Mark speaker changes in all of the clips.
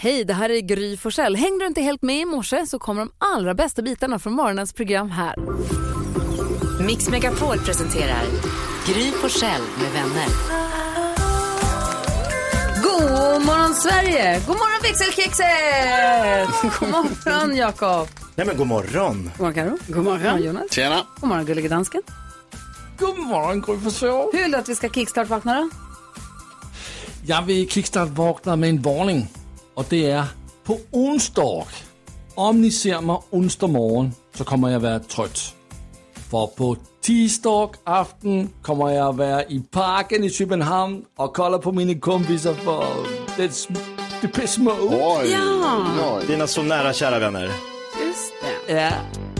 Speaker 1: Hej, det här är Gry Forssell. Hängde du inte helt med i morse så kommer de allra bästa bitarna från morgonens program här.
Speaker 2: Mix Megapol presenterar Gry Forssell med vänner.
Speaker 1: God morgon Sverige! God morgon växelkexet! God morgon Jakob!
Speaker 3: Nej men god morgon.
Speaker 1: God morgon Karo. God morgon Jonas.
Speaker 3: Tjena.
Speaker 1: God morgon gullige dansken.
Speaker 4: God morgon Gry Forssell.
Speaker 1: Hur vill du att vi ska kickstart-vakna då?
Speaker 4: Jag vill kickstart-vakna med en varning. Och det är på onsdag. Om ni ser mig onsdag morgon så kommer jag vara trött. För på tisdag afton kommer jag vara i parken i Köpenhamn och kolla på mina kompisar för det, är sm- det pissmå.
Speaker 5: Oj,
Speaker 1: Ja.
Speaker 5: oj.
Speaker 3: Dina så nära kära vänner.
Speaker 1: Just det.
Speaker 4: Ja,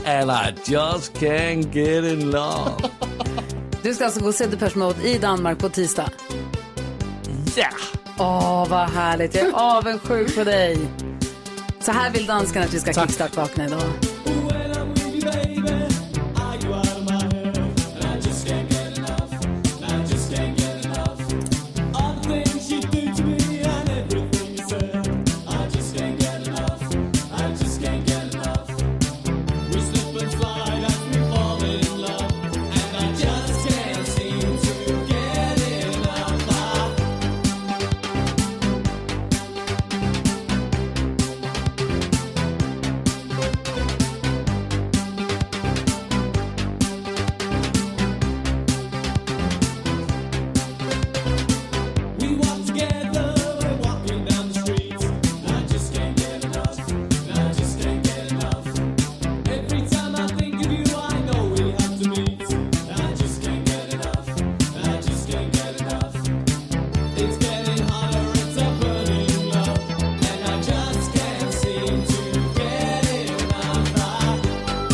Speaker 4: eller I just can't get in love.
Speaker 1: Du ska alltså gå och se Depeche Mode i Danmark på tisdag.
Speaker 4: Ja.
Speaker 1: Åh, vad härligt. Jag är avundsjuk på dig. Så här vill danskarna att vi ska kickstart-vakna idag.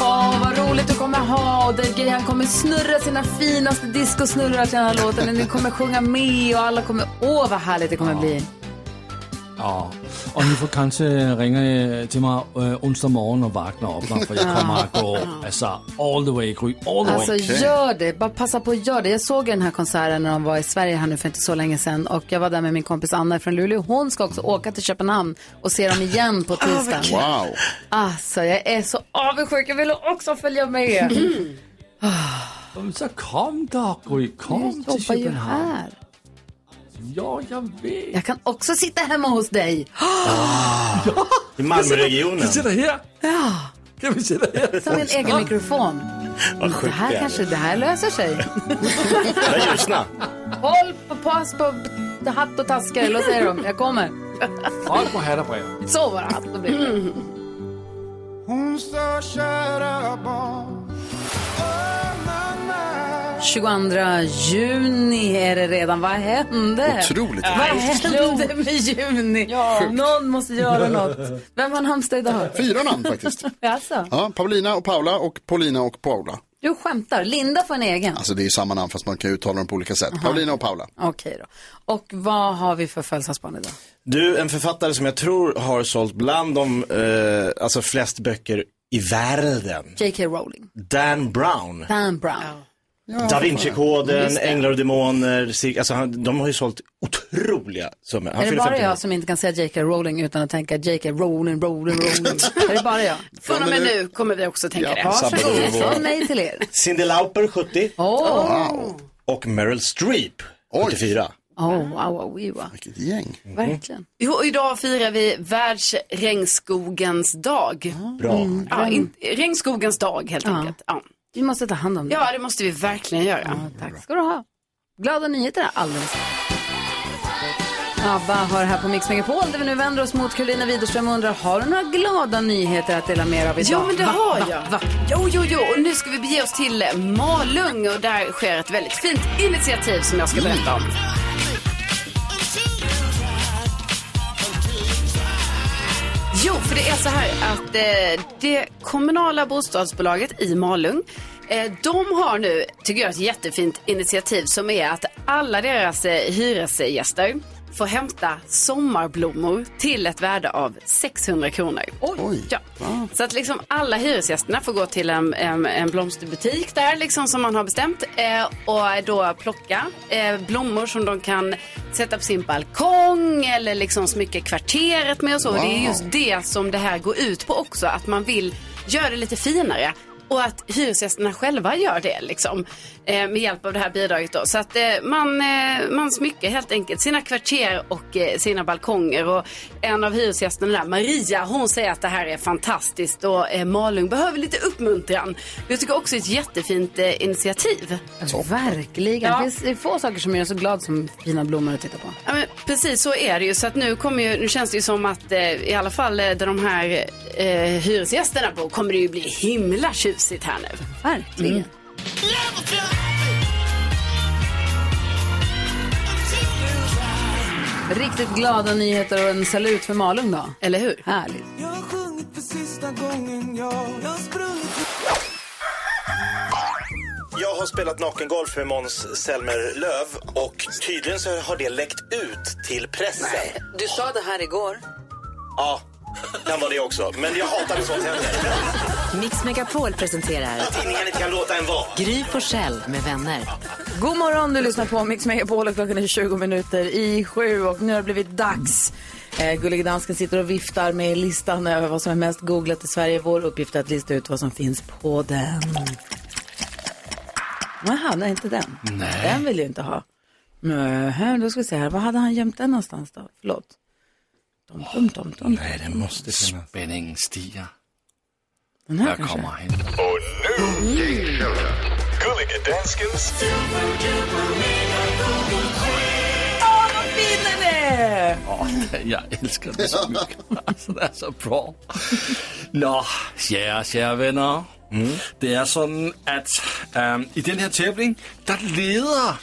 Speaker 1: Åh, vad roligt du kommer ha. Och Dave Gay, han kommer snurra sina finaste discosnurrar till den här låten. Och Ni kommer sjunga med och alla kommer... Åh, vad härligt det kommer bli.
Speaker 4: Ja, och ni får kanske ringa eh, till mig eh, onsdag morgon och vakna upp mig för jag kommer att gå alltså, all the way, Gry, all the way.
Speaker 1: Alltså gör det, bara passa på att göra det. Jag såg ju den här konserten när de var i Sverige här nu för inte så länge sedan och jag var där med min kompis Anna från Luleå. Hon ska också åka till Köpenhamn och se dem igen på tisdag.
Speaker 5: Wow.
Speaker 1: Alltså jag är så avundsjuk, jag vill också följa med.
Speaker 4: Men Så kom då Gry,
Speaker 1: Jag
Speaker 4: kom till
Speaker 1: jobbar ju
Speaker 4: Köpenhamn.
Speaker 1: här.
Speaker 4: Ja, jag vet.
Speaker 1: Jag kan också sitta hemma hos dig.
Speaker 3: I
Speaker 4: Kan
Speaker 3: Malmöregionen.
Speaker 4: vi sitta här? Ja. Kan vi sitta här?
Speaker 1: Ta min egen mikrofon.
Speaker 3: Vad
Speaker 1: Det
Speaker 3: sjukt
Speaker 1: här
Speaker 3: är.
Speaker 1: kanske, det här löser sig.
Speaker 3: Där ljusna.
Speaker 1: Håll på, pass på hatt och taskar, eller vad säger de? Jag kommer.
Speaker 4: Folk på här brev.
Speaker 1: Så var det hatt och blir det.
Speaker 6: Hon sa kära barn
Speaker 1: 22 juni är det redan. Vad hände?
Speaker 5: Otroligt.
Speaker 1: Vad hände med juni? Någon måste göra något. Vem har namnsdag idag?
Speaker 5: Fyra namn faktiskt.
Speaker 1: Alltså,
Speaker 5: Ja, Paulina och Paula och Paulina och Paula.
Speaker 1: du skämtar. Linda får en egen.
Speaker 5: Alltså det är ju samma namn fast man kan uttala dem på olika sätt. Paulina och Paula.
Speaker 1: Okej då. Och vad har vi för födelsedagsbarn idag?
Speaker 3: Du, en författare som jag tror har sålt bland de, eh, alltså flest böcker i världen.
Speaker 1: J.K. Rowling.
Speaker 3: Dan Brown.
Speaker 1: Dan Brown.
Speaker 3: Da Vinci-koden, Änglar och Demoner. cir- Alltså han, de har ju sålt otroliga summor. Han
Speaker 1: Är det
Speaker 3: fyller
Speaker 1: bara
Speaker 3: 50
Speaker 1: jag som inte kan säga J.K. Rowling utan att tänka J.K. Rowling, Rowling, Rowling? är det bara jag?
Speaker 7: Från och med nu kommer vi också tänka det.
Speaker 3: Sabbath.
Speaker 1: Varsågod, från mig till er.
Speaker 3: Cyndi Lauper, 70.
Speaker 1: Åh,
Speaker 3: Och Meryl Streep,
Speaker 5: Oj.
Speaker 3: 74.
Speaker 1: oh, wow, wow, wow.
Speaker 5: Vilket gäng.
Speaker 1: Verkligen.
Speaker 7: Jo, och idag firar vi världsregnskogens dag.
Speaker 1: Ah.
Speaker 7: Mm.
Speaker 3: Bra.
Speaker 7: Ja, in, regnskogens dag helt enkelt. Ja.
Speaker 1: Vi måste ta hand om det.
Speaker 7: ja, det måste vi verkligen göra. Mm.
Speaker 1: Tack ska du ha. Glada nyheter här alldeles ABBA har här på Mix Megapol där vi nu vänder oss mot Karolina Widerström och undrar har du några glada nyheter att dela med dig av idag?
Speaker 7: Ja, men det
Speaker 1: Va,
Speaker 7: har
Speaker 1: va,
Speaker 7: jag.
Speaker 1: va?
Speaker 7: Jo, jo, jo, och nu ska vi bege oss till Malung och där sker ett väldigt fint initiativ som jag ska
Speaker 1: Mm.
Speaker 7: berätta om. Jo, för det är så här att eh, det kommunala bostadsbolaget i Malung eh, de har nu, tycker jag, ett jättefint initiativ som är att alla deras eh, hyresgäster får hämta sommarblommor till ett värde av 600 kronor.
Speaker 5: Oj.
Speaker 7: Ja. Så att liksom alla hyresgästerna får gå till en, en, en blomsterbutik där liksom som man har bestämt eh, och då plocka eh, blommor som de kan sätta på sin balkong eller liksom smycka kvarteret med och så. Det är
Speaker 5: Wow.
Speaker 7: just det som det här går ut på också, att man vill göra det lite finare. Och att hyresgästerna själva gör det liksom, eh, med hjälp av det här bidraget. Då. Så att eh, man, eh, man smyckar helt enkelt sina kvarter och eh, sina balkonger. Och en av hyresgästerna där, Maria, hon säger att det här är fantastiskt och eh, Malung behöver lite uppmuntran. Jag tycker också det är ett jättefint eh, initiativ.
Speaker 1: Verkligen.
Speaker 7: Ja.
Speaker 1: Det finns- Det är få saker som gör så glad som fina blommor att titta på.
Speaker 7: Ja, men precis så är det ju. Så att nu, kommer ju, nu känns det ju som att eh, i alla fall eh, där de här eh, hyresgästerna bor kommer det ju bli himla tjusigt här nu.
Speaker 1: Verkligen.
Speaker 7: Mm.
Speaker 1: Riktigt glada nyheter och en salut för Malung då.
Speaker 7: Eller hur?
Speaker 1: Härligt.
Speaker 3: Jag har spelat nakengolf med Måns Zelmer Löv och tydligen så har det läckt ut till pressen.
Speaker 2: Du sa det här igår.
Speaker 3: Ja, kan vara det också. Men jag hatar när sånt händer.
Speaker 2: Mix Megapol presenterar
Speaker 3: Tidningen inte kan låta en vara.
Speaker 2: Gry Forssell med vänner.
Speaker 1: God morgon, du lyssnar på Mix Megapol och klockan är 20 minuter i sju och nu har det blivit dags. Eh, Gullige dansken sitter och viftar med listan över vad som är mest googlat i Sverige. Vår uppgift är att lista ut vad som finns på den. Jaha, nej inte den. Nej. Den vill jag inte ha. Nähä, då ska vi se här. Var hade han gömt den någonstans då? Förlåt. Dom, dom, dom, dom.
Speaker 3: Nej, det måste finnas.
Speaker 4: Spændingen stiger.
Speaker 1: Den här
Speaker 4: Her
Speaker 1: kanske?
Speaker 4: kommer han.
Speaker 8: Gulliga danskens
Speaker 1: Åh, vad fin den är!
Speaker 4: Åh, jeg elsker det så mycket. Altså, det er så bra. Nå, kære, kære venner. Det er sådan, at øhm, i den her tævling, der leder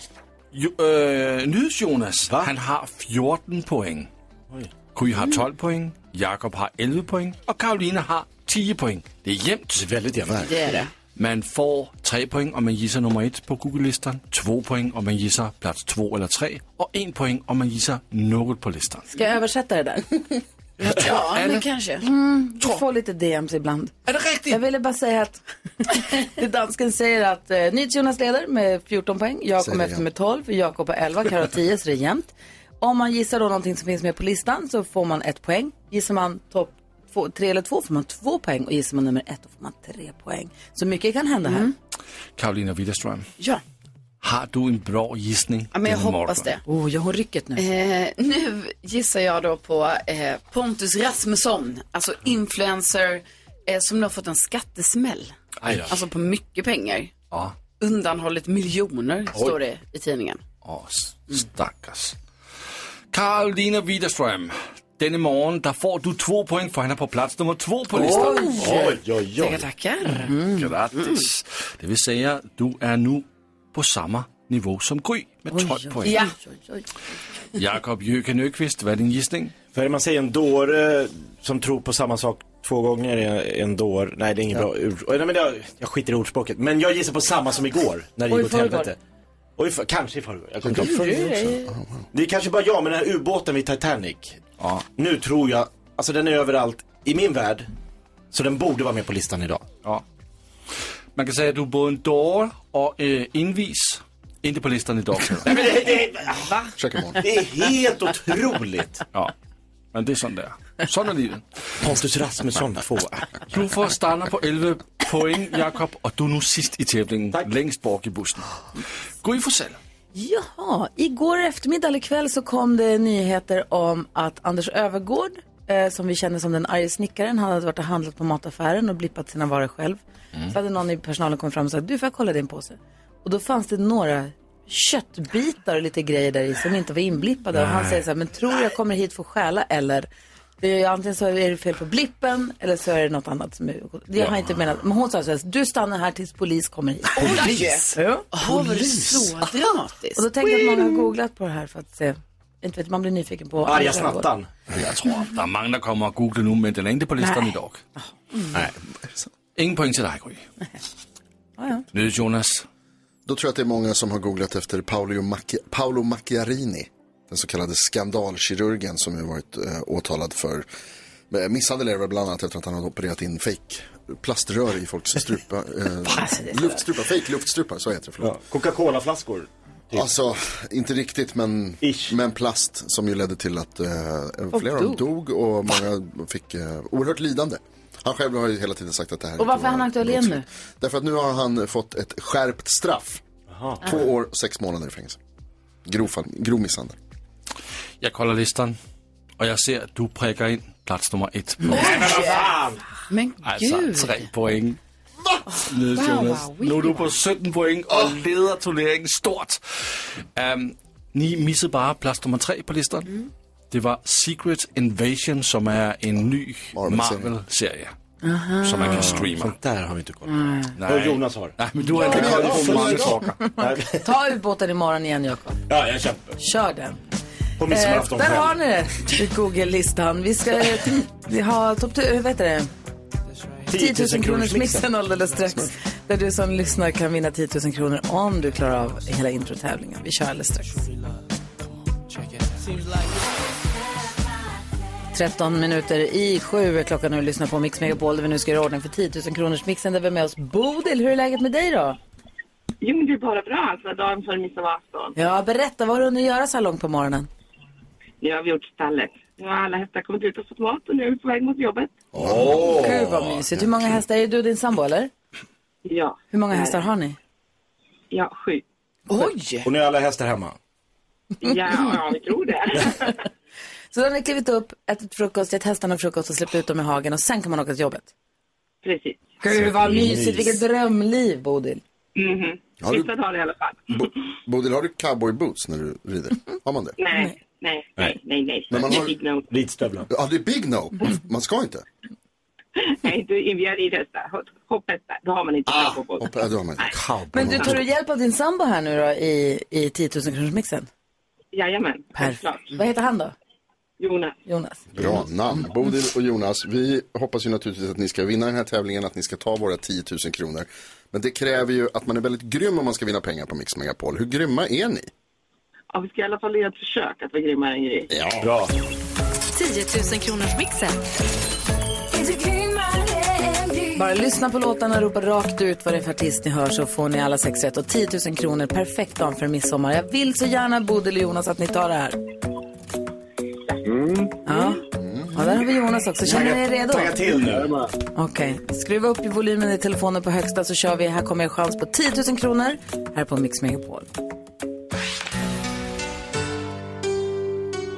Speaker 4: jo, øh, Nyhedsjonas. Han har 14 point. Gry har 12 point, Jakob har 11 point, og Karoline har 10 point. Det er jævnt.
Speaker 3: Väldigt jämnt.
Speaker 7: Det är det.
Speaker 4: Man får 3 point, om man gisser nummer 1 på Google-listeren, 2 point, om man gisser plads 2 eller 3, og 1 point, om man gisser noget på listeren.
Speaker 1: Ska jag översätta det där?
Speaker 7: Ja, men kanske.
Speaker 1: Du får lite DMs ibland.
Speaker 4: Er det rigtigt?
Speaker 1: Jag ville bara säga att det dansken säger att eh, NyhetsJonas leder med 14 poäng. Jag kommer efter med 12, Jakob har 11, Karo har 10 så det är jämnt. Om man gissar då någonting som finns med på listan så får man ett poäng. Gissar man topp 3 eller 2 får man 2 poäng och gissar man nummer 1 får man 3 poäng. Så mycket kan hända här.
Speaker 4: Karolina Widerström,
Speaker 7: Mm. Ja.
Speaker 4: har du en bra gissning?
Speaker 7: ja, men jag
Speaker 4: denne
Speaker 7: hoppas
Speaker 4: morgen?
Speaker 7: det.
Speaker 1: Oh, jag har rycket nu.
Speaker 7: Eh, nu gissar jag då på eh, Pontus Rasmusson, alltså influencer eh, som nu har fått en skattesmäll.
Speaker 4: Ej da.
Speaker 7: Alltså på mycket pengar.
Speaker 4: Ja,
Speaker 7: Undanhållit miljoner, står det i tidningen.
Speaker 4: og s- stakkers. Karolina Widerstrøm, denne morgen, der får du to point, for han er på plads nummer to på listen.
Speaker 3: Oj, oj, oj.
Speaker 7: Tackar, tackar.
Speaker 4: Grattis. Det vil sige, at du er nu på samme niveau som Gry med 12 point.
Speaker 7: Ja,
Speaker 4: Jakob Jøken Økvist, hvad er din gissning?
Speaker 3: För man säger en dåre som tror på samma sak två gånger är en dår. Nej, det är inget bra ur... Oj, Nej, men jag, jag skiter i ordspråket. Men jag gissar på samma som igår, när det
Speaker 1: Och i
Speaker 3: gick åt
Speaker 1: förrgår.
Speaker 3: helvete. Och i för... kanske i förrgår. Jag kommer inte ihåg. Det är kanske bara jag, men den här ubåten vid Titanic.
Speaker 4: Ja.
Speaker 3: Nu tror jag, alltså den är överallt i min värld. Så den borde vara med på listan idag.
Speaker 4: Ja. Man kan sige, at du er både en dårer og øh, indvis. Ikke på listerne i dag. Peter.
Speaker 3: Men det, det,
Speaker 5: Försök imorgon.
Speaker 3: det är helt otroligt.
Speaker 4: ja. Men det er sådan, der. Sådan er livet.
Speaker 3: Pontus Rasmusson tvåa.
Speaker 4: Du får stander på 11 point, Jakob, og du er nu sidst i tævlingen.
Speaker 3: Tak.
Speaker 4: Længst bort i bussen. Gå i for salg.
Speaker 1: Jaha, igår eftermiddag eller kväll så kom det nyheter om att Anders Övergård, eh, som vi känner som den arge snickaren, han hade varit och handlat på mataffären och blippat sina varor själv. Så hade någon i personalen kommit fram och sagt, du får jag kolla din påse? Och då fanns det några köttbitar och lite grejer där i som inte var inblippade. Och han säger så här, men tror jag kommer hit för att stjäla eller? Det är, antingen så är det fel på blippen eller så är det något annat som är... Jag har inte menat, men hon sa så här, du stannar här tills polis kommer hit.
Speaker 3: Polis?
Speaker 1: Ja.
Speaker 7: har det så dramatiskt.
Speaker 1: Och då tänker jag att många har googlat på det här för att se. Inte vet, man blir nyfiken på...
Speaker 3: Arga snattan.
Speaker 4: Jeg tror, der er mange, der kommer og googler nu, men den er ikke på listerne i dag. Nej. Ingen point til dig, Gry. Nydes Jonas.
Speaker 5: Då tror jag att det är många som har googlat efter Paolo, Macchi Paolo Macchiarini. Den så kallade skandalkirurgen som ju varit eh, åtalad för eh, misshandel är det väl bland annat efter att han hade opererat in fake plaströr
Speaker 3: Alltså,
Speaker 5: i folks strupa. Eh, luftstrupa, fake luftstrupa, så heter det. Förlåt.
Speaker 3: Coca-Cola-flaskor.
Speaker 5: Alltså, inte riktigt men,
Speaker 3: Typ. Ish.
Speaker 5: men plast som ju ledde till att eh, flera av dem
Speaker 1: dog.
Speaker 5: dog och många fick eh, oerhört lidande. Han själv har ju hela tiden sagt att det här
Speaker 1: Och varför
Speaker 5: inte
Speaker 1: är han
Speaker 5: var
Speaker 1: aktuell igen
Speaker 5: brottsligt. Därför att nu har han fått ett skärpt straff. Två år, sex månader i fängelse. Grov, fall- grov misshandel.
Speaker 4: Jeg kolder listeren, og jeg ser, at du prikker ind plads nummer et. På,
Speaker 7: Men gud.
Speaker 4: altså tre point. Nede, Jonas. Nu er du på 17 point og leder turneringen stort. Um, ni missede bare plads nummer tre på listeren.
Speaker 7: Mm.
Speaker 4: Det var Secret Invasion, som er en ny
Speaker 5: Marvel-serie.
Speaker 4: Marvel-serie.
Speaker 7: Ah.
Speaker 4: Som man kan streame.
Speaker 3: Sånt där har vi inte koll på. Och Jonas har.
Speaker 4: Nej, men du har inte koldt på mange saker.
Speaker 1: Ta ubåten imorgon igen, Jakob.
Speaker 3: Ja, jag kämpar.
Speaker 1: Kör den.
Speaker 3: På
Speaker 1: Eh,
Speaker 3: midsommarafton
Speaker 1: där har
Speaker 3: själv.
Speaker 1: ni det, i Google-listan. Vi ska eh, t- vi ha topp tu- eh, vad heter det? 10 000 kronors mixen alldeles strax. Där du som lyssnar kan vinna 10 000 kronor om du klarar av hela introtävlingen. Vi kör alldeles strax. 13 minuter i sju är klockan nu och lyssnar på Mix Megapol där vi nu ska göra ordning för 10 000 kronors mixen där vi har med oss Bodil. Hur är läget med dig då?
Speaker 9: Jo, men det är bara bra alltså, dagen före midsommarafton.
Speaker 1: Ja, berätta. Vad har du hunnit göra så här långt på morgonen?
Speaker 9: Nu har vi gjort stallet. Nu har alla hästar kommit ut och fått mat och nu är vi på väg mot jobbet.
Speaker 1: Gud vad mysigt. Hur många hästar? Är det du och din sambo eller?
Speaker 9: Ja.
Speaker 1: Hur många hästar har ni?
Speaker 9: Ja, sju.
Speaker 1: Oj!
Speaker 3: Och nu är alla hästar hemma.
Speaker 9: Ja, ja, vi tror det.
Speaker 1: Så då har ni klivit upp, ätit frukost, gett hästarna frukost och släppt ut dem i hagen och sen kan man åka till jobbet.
Speaker 9: Precis.
Speaker 1: Gud vad mysigt, vilket drömliv Bodil.
Speaker 9: Mhm.
Speaker 5: Har
Speaker 9: Vissa
Speaker 5: du,
Speaker 9: dagar i alla fall.
Speaker 5: Bo, Bodil, har du cowboy boots när du rider? Har man det?
Speaker 9: Nej, nej, nej, nej, nej.
Speaker 5: Men man har-
Speaker 9: Big no.
Speaker 3: Ridstövlar.
Speaker 5: Ja, det är big no.
Speaker 1: Mm.
Speaker 5: Man ska inte.
Speaker 9: Nej, du inbjuder i hästar. Hopphästar, då har man inte ah, på
Speaker 5: Och,
Speaker 9: båten.
Speaker 5: ja, det har man inte.
Speaker 1: Men du, tar du hjälp av din sambo här nu då i, i 10 000 kronors mixen?
Speaker 9: Jajamän, självklart.
Speaker 1: Perfekt. Vad heter han då?
Speaker 9: Jonas.
Speaker 1: Jonas?
Speaker 5: Bra namn. Bodil och Jonas, vi hoppas ju naturligtvis att ni ska vinna den här tävlingen, att ni ska ta våra 10 000 kronor. Men det kräver ju att man är väldigt grym om man ska vinna pengar på Mix Megapol. Hur grymma är ni?
Speaker 9: Ja, vi ska i alla fall göra ett försök att vara grymmare än Gry.
Speaker 2: 10 000 kronors mixen.
Speaker 1: Bara lyssna på låtarna, ropa rakt ut vad det är för artist ni hör så får ni alla sex rätt och 10 000 kronor perfekt dagen för midsommar. Jag vill så gärna Bodil och Jonas att ni tar det här. Ja. Mm. ja, där har vi Jonas också. Känner ni er redo?
Speaker 3: Tagga till nu.
Speaker 1: Okej, skruva upp i volymen i telefonen på högsta så kör vi. Här kommer er chans på 10 000 kronor här på Mix Megapol.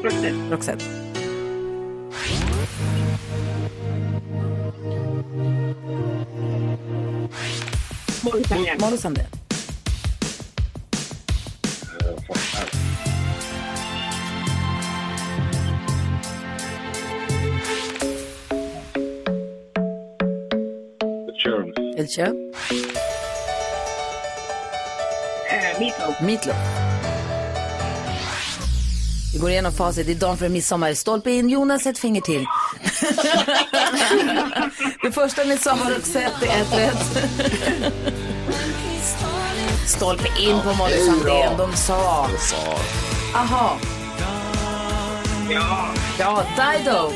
Speaker 9: Roxette.
Speaker 1: Roxette.
Speaker 9: Molly Sandén.
Speaker 1: Molly Sandén. Ed Sheeran.
Speaker 9: Eh, Meatloaf.
Speaker 1: Meatloaf. Vi går igenom facit. Det är dagen före midsommar. Stolpe in. Jonas, ett finger till. det första ni sa var Roxette, ett rätt. Stolpe in på Molly Sandén. De sa... Aha.
Speaker 9: Ja,
Speaker 1: Ja, Dido.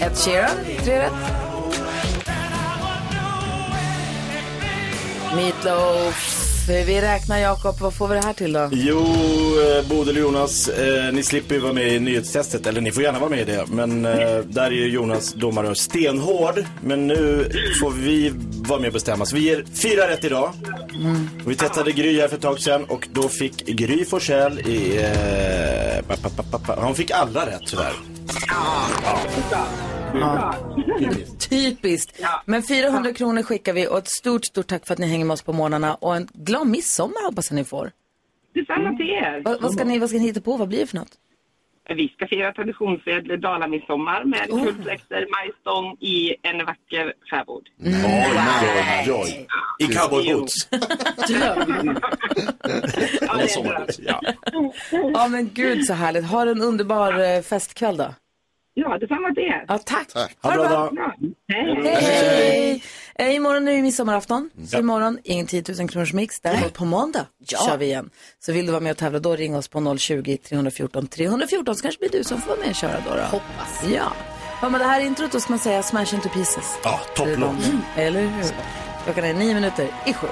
Speaker 1: Ed Sheeran, tre rätt. Meatloaf. Vi räknar, Jakob. Vad får vi det här till då?
Speaker 3: Jo, eh, Bodil och Jonas, eh, ni slipper ju vara med i nyhetstestet, eller ni får gärna vara med i det. Men eh, där är ju Jonas domare stenhård. Men nu får vi vara med och bestämma. Så vi ger fyra rätt idag. Och vi testade Gry här för ett tag sedan och då fick Gry Forssell i... Eh, pa, pa, pa, pa, pa. Hon fick alla rätt tyvärr.
Speaker 1: Typiskt. Men 400 kronor skickar vi och ett stort, stort tack för att ni hänger med oss på morgnarna. Och en glad midsommar hoppas jag ni får.
Speaker 9: detsamma till er.
Speaker 1: Vad, vad, ska ni, vad ska ni hitta på? Vad blir det för något?
Speaker 9: Vi ska fira traditionsedlig dalamidsommar med
Speaker 1: Oh.
Speaker 9: kultväxter, majstång i en vacker skärgård.
Speaker 3: Oj, oj, oj. I cowboyboots.
Speaker 9: Ja, det är bra.
Speaker 1: Ja, men gud så härligt. Ha en underbar eh, festkväll då.
Speaker 9: Ja, detsamma till er.
Speaker 1: Ja, tack.
Speaker 5: Tack.
Speaker 3: Ha en bra dag.
Speaker 9: Ja, hej.
Speaker 1: Hej! Eh, imorgon är det midsommarafton.
Speaker 2: Mm.
Speaker 1: Så imorgon, ingen 10 000 kronors mix. Däremot på måndag kör vi igen. Så vill du vara med och tävla då ring oss på 020-314 314 så kanske blir du som får vara med och köra då. då. Hoppas. Ja. Hör man det här introt då ska man säga smash into pieces. Mm.
Speaker 3: Ja, topplåt.
Speaker 1: Eller hur? Klockan är nio minuter i sju.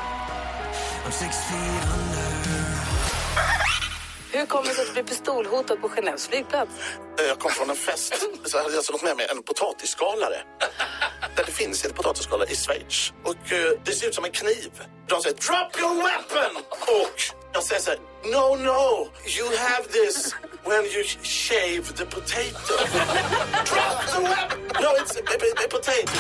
Speaker 1: Hur kommer det sig att du blir pistolhotad på Genèves flygplats?
Speaker 10: Eh, Jag kom från en fest. Så hade jag alltså gått med mig en potatisskalare. Där det finns en potatisskalare i Schweiz. Och eh, det ser ut som en kniv. De säger “Drop your weapon!” Och jag säger så här “No, no! You have this when you shave the potato. Drop the weapon! No, it's a, a, a potato.”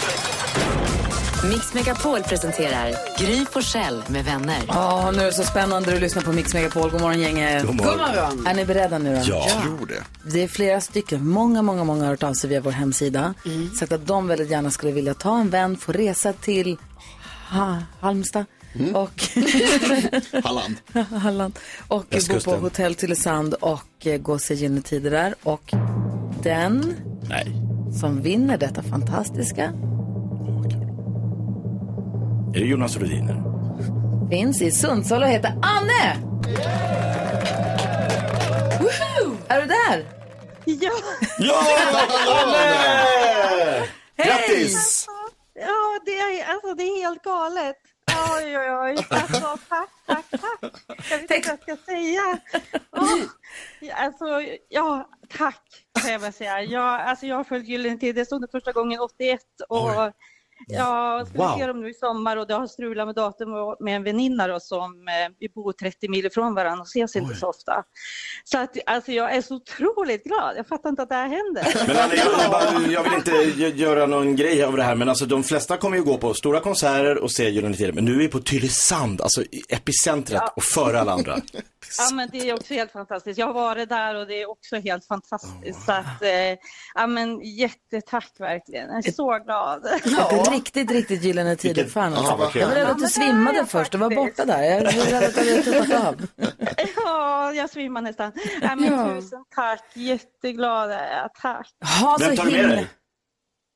Speaker 2: Mix Megapol presenterar Gry Forssell med vänner.
Speaker 1: Åh, nu är det så spännande att lyssna på Mix Megapol. God morgon gänget.
Speaker 5: God morgon. God
Speaker 7: morgon.
Speaker 1: Är ni beredda nu då?
Speaker 5: Jag tror det.
Speaker 1: Det är flera stycken, många, många, många har hört av sig via vår hemsida.
Speaker 3: Mm.
Speaker 1: Sagt att de väldigt gärna skulle vilja ta en vän, få resa till ha, Halmstad. Och
Speaker 5: Halland.
Speaker 1: Halland. Och bo på
Speaker 3: Västkusten.
Speaker 1: hotell Tylösand och eh, gå och se Gyllene Tider där. Och den
Speaker 3: Nej.
Speaker 1: som vinner detta fantastiska
Speaker 3: Är det Jonas Rhodiner?
Speaker 1: finns i Sundsvall och heter Anne! Woho! Är du där?
Speaker 11: Ja,
Speaker 3: Ja! Anne! Grattis!
Speaker 11: ja det, är, alltså, det är helt galet. Oj, oj, oj. Alltså, tack, tack, tack. Jag vet inte vad jag ska säga. Åh, ja, alltså, ja, tack, kan jag väl säga. Jag, alltså, jag har följt Gyllene Tider, jag såg den första gången 81 och jag skulle
Speaker 12: Wow.
Speaker 11: se dem nu i sommar och det har strulat med datum och med en väninna då, som eh, vi bor 30 mil ifrån varandra och ses inte så ofta. Så att, alltså, jag är så otroligt glad. Jag fattar inte att det här händer.
Speaker 3: Men Anne, jag, jag, bara, jag vill inte gö- göra någon grej av det här, men alltså de flesta kommer ju gå på stora konserter och se Gyllene Tider. Men nu är vi på Tylösand, alltså i epicentret och före alla andra.
Speaker 11: Ja, men det är också helt fantastiskt. Jag har varit där och det är också helt fantastiskt. Så att, eh, ja, men jättetack verkligen. Jag är så glad.
Speaker 1: Ett riktigt, riktigt Gyllene Tider-fan.
Speaker 3: Ja, vad
Speaker 1: alltså.
Speaker 3: kul.
Speaker 1: Jag var rädd att du
Speaker 11: men
Speaker 1: svimmade först. Du var borta där. Jag var rädd att du hade tuppat av.
Speaker 11: Ja, jag svimmar nästan. Ja, men
Speaker 1: Ja.
Speaker 11: Tusen tack. Jätteglad är jag. Tack.
Speaker 1: Ha
Speaker 3: Vem tar du med dig?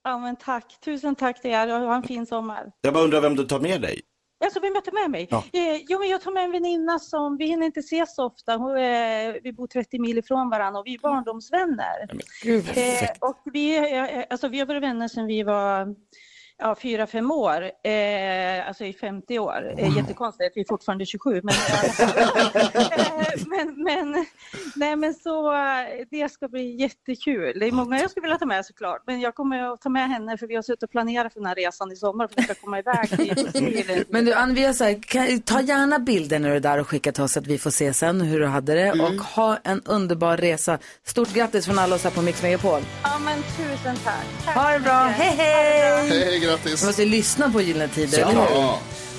Speaker 11: Ja, men tack. Tusen tack till er och ha en fin sommar.
Speaker 3: Jag bara undrar vem du tar med dig?
Speaker 11: Alltså, vem jag tar med mig?
Speaker 3: Ja.
Speaker 11: Eh, jo, men jag tar med en väninna som, vi hinner inte ses så ofta. Hon, eh, vi bor 30 mil ifrån varandra och vi är barndomsvänner.
Speaker 1: Gud,
Speaker 11: Eh, och vi, eh, alltså, vi har varit vänner sedan vi var ja, fyra, fem år, eh, alltså i 50 år. Eh, jättekonstigt, vi är fortfarande 27. Men, eh, men, men, nej, men så, eh, det ska bli jättekul. Det är många jag skulle vilja ta med såklart, men jag kommer att ta med henne för vi har suttit och planerat för den här resan i sommar för att vi ska komma iväg till
Speaker 1: Men du, Ann, vi har så här, kan, ta gärna bilder när du är där och skicka till oss så att vi får se sen hur du hade
Speaker 3: Mm.
Speaker 1: det. Och ha en underbar resa. Stort grattis från alla oss här på Mix Megapol.
Speaker 11: Ja, men tusen tack. tack.
Speaker 1: Ha det bra. Hej, hej!
Speaker 5: Hej, hej, grattis.
Speaker 1: Vi måste lyssna på Gyllene Tider,
Speaker 5: Ja.
Speaker 1: eller hur?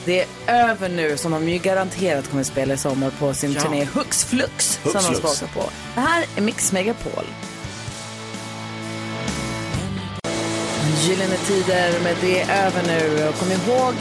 Speaker 1: Det är över nu, som de ju garanterat kommer spela i sommar på sin
Speaker 5: Ja.
Speaker 1: turné Hux Flux,
Speaker 5: Hux
Speaker 1: som de ska
Speaker 5: Flux.
Speaker 1: åka på. Det här är Mix Megapol. Gyllene Tider, med det är över nu. Och kom ihåg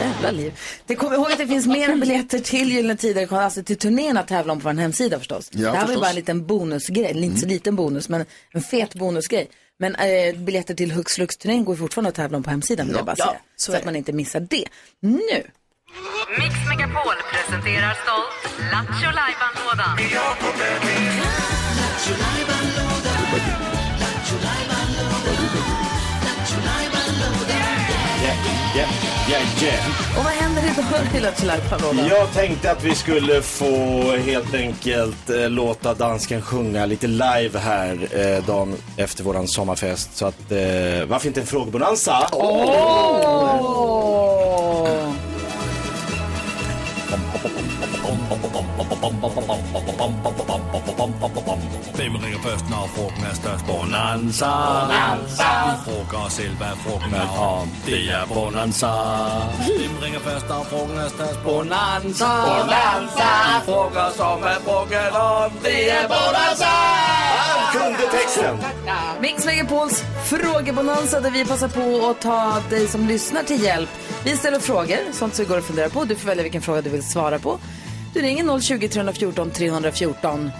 Speaker 1: Jävla liv. Det kom ihåg att det finns mer än biljetter till Gyllene Tider, alltså till turnén att tävla om på vår hemsida förstås.
Speaker 12: Ja,
Speaker 1: det här var ju
Speaker 12: förstås.
Speaker 1: bara en liten bonusgrej, eller inte så liten bonus, men en fet bonusgrej. Men eh, biljetter till Hux Flux-turnén går fortfarande att tävla om på hemsidan, vill jag bara
Speaker 2: Ja,
Speaker 1: säga. så att man inte missar det. Nu!
Speaker 2: Mix Megapol presenterar stolt Lattjo Lajban-lådan.
Speaker 3: Yeah, yeah, yeah, yeah.
Speaker 1: Och vad händer idag i Lattjo Lajban-lådan?
Speaker 3: Jag tänkte att vi skulle få helt enkelt eh, låta dansken sjunga lite live här eh, dagen efter våran sommarfest. Så att, eh, varför inte en frågebonanza?
Speaker 1: Åh!
Speaker 13: Hvem ringer først, når frugten er størst? Bonanza.
Speaker 14: Bonanza.
Speaker 13: Vi frugger os selv, hvad frugten er om. Det er Bonanza. Hvem ringer først, når frugten er størst? Bonanza.
Speaker 14: Bonanza.
Speaker 13: Vi frugger os om, hvad frugten er om. Det er Bonanza.
Speaker 3: Han kunde texten.
Speaker 1: Mm. Mix Megapols frågebonanza där vi passar på att ta dig som lyssnar till hjälp. Vi ställer frågor, sånt som går att fundera på. Du får välja vilken fråga du vill svara på. Du ringer 020 314 314.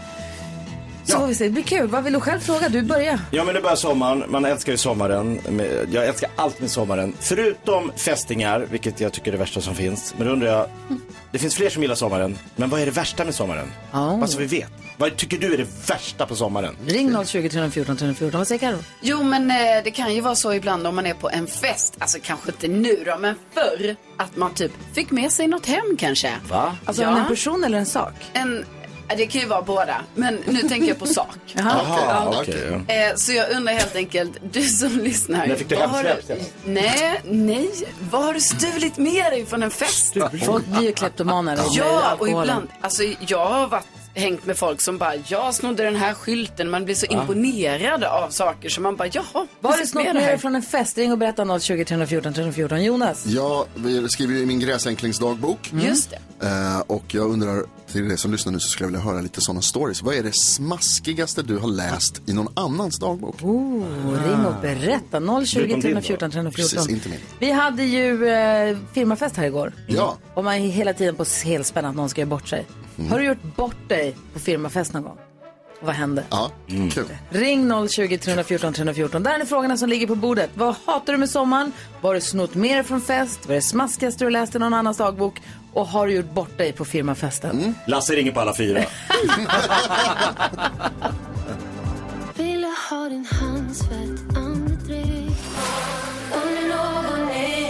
Speaker 1: Så får vi se, det blir kul. Vad vill du själv fråga? Du börjar.
Speaker 3: Ja men det börjar sommaren, man älskar ju sommaren. Men Jag älskar allt med sommaren. Förutom fästingar, vilket jag tycker är det värsta som finns. Men då undrar jag, Det finns fler som gillar sommaren, men vad är det värsta med sommaren?
Speaker 1: Oh.
Speaker 3: Bara så vi vet. Vad tycker du är det värsta på sommaren?
Speaker 1: Ring 020 314 314. Vad säger Carro?
Speaker 7: Jo, men eh, det kan ju vara så ibland om man är på en fest, alltså kanske inte nu då, men förr, att man typ fick med sig något hem kanske.
Speaker 1: Va? Alltså
Speaker 7: Ja.
Speaker 1: en person eller en sak?
Speaker 7: En, eh, det kan ju vara båda, men nu tänker jag på sak.
Speaker 1: Jaha,
Speaker 7: Ja.
Speaker 1: okej.
Speaker 7: Eh, så jag undrar helt enkelt, du som lyssnar.
Speaker 1: När fick du
Speaker 7: vad har
Speaker 1: hemsläpp
Speaker 7: du- Nej, nej. Vad har du stulit med dig från en fest?
Speaker 1: Folk blir ju kleptomaner. av
Speaker 7: Ja, och
Speaker 1: alkoholen.
Speaker 7: ibland, alltså jag har varit hängt med folk som bara, jag snodde den här skylten. Man blir så
Speaker 1: Ja.
Speaker 7: imponerad av saker så man bara, jaha.
Speaker 1: Var
Speaker 7: vad
Speaker 1: det
Speaker 7: fick
Speaker 1: snott
Speaker 7: med
Speaker 1: med
Speaker 7: Ah. det här?
Speaker 1: dig från en fest? Ring och berätta 020 314 314. Jonas?
Speaker 5: Jag skriver ju i min gräsänklingsdagbok.
Speaker 1: Mm. Just
Speaker 5: Eh, och jag undrar till dig som lyssnar nu så skulle jag vilja höra lite sådana stories. Vad är det smaskigaste du har läst i någon annans dagbok?
Speaker 1: Oh, ring och berätta. 020 314
Speaker 5: Precis,
Speaker 1: 314.
Speaker 5: inte min.
Speaker 1: Vi hade ju eh, firmafest här igår.
Speaker 5: Ja. Mm.
Speaker 1: Och man är hela tiden på helspänn att någon ska göra bort sig. Har du gjort bort dig på firmafest någon gång? Och vad hände?
Speaker 5: Ja, kul.
Speaker 1: Ring 020 314 314. Där är frågorna som ligger på bordet. Vad hatar du med sommaren? Vad har du snott med dig från fest? Vad är det smaskigaste du läst i någon annans dagbok? Och har du gjort bort dig på firmafesten?
Speaker 5: Mm.
Speaker 3: Lasse ringer på alla fyra.
Speaker 14: Vill ha din handsvett, andedräkt Under någon är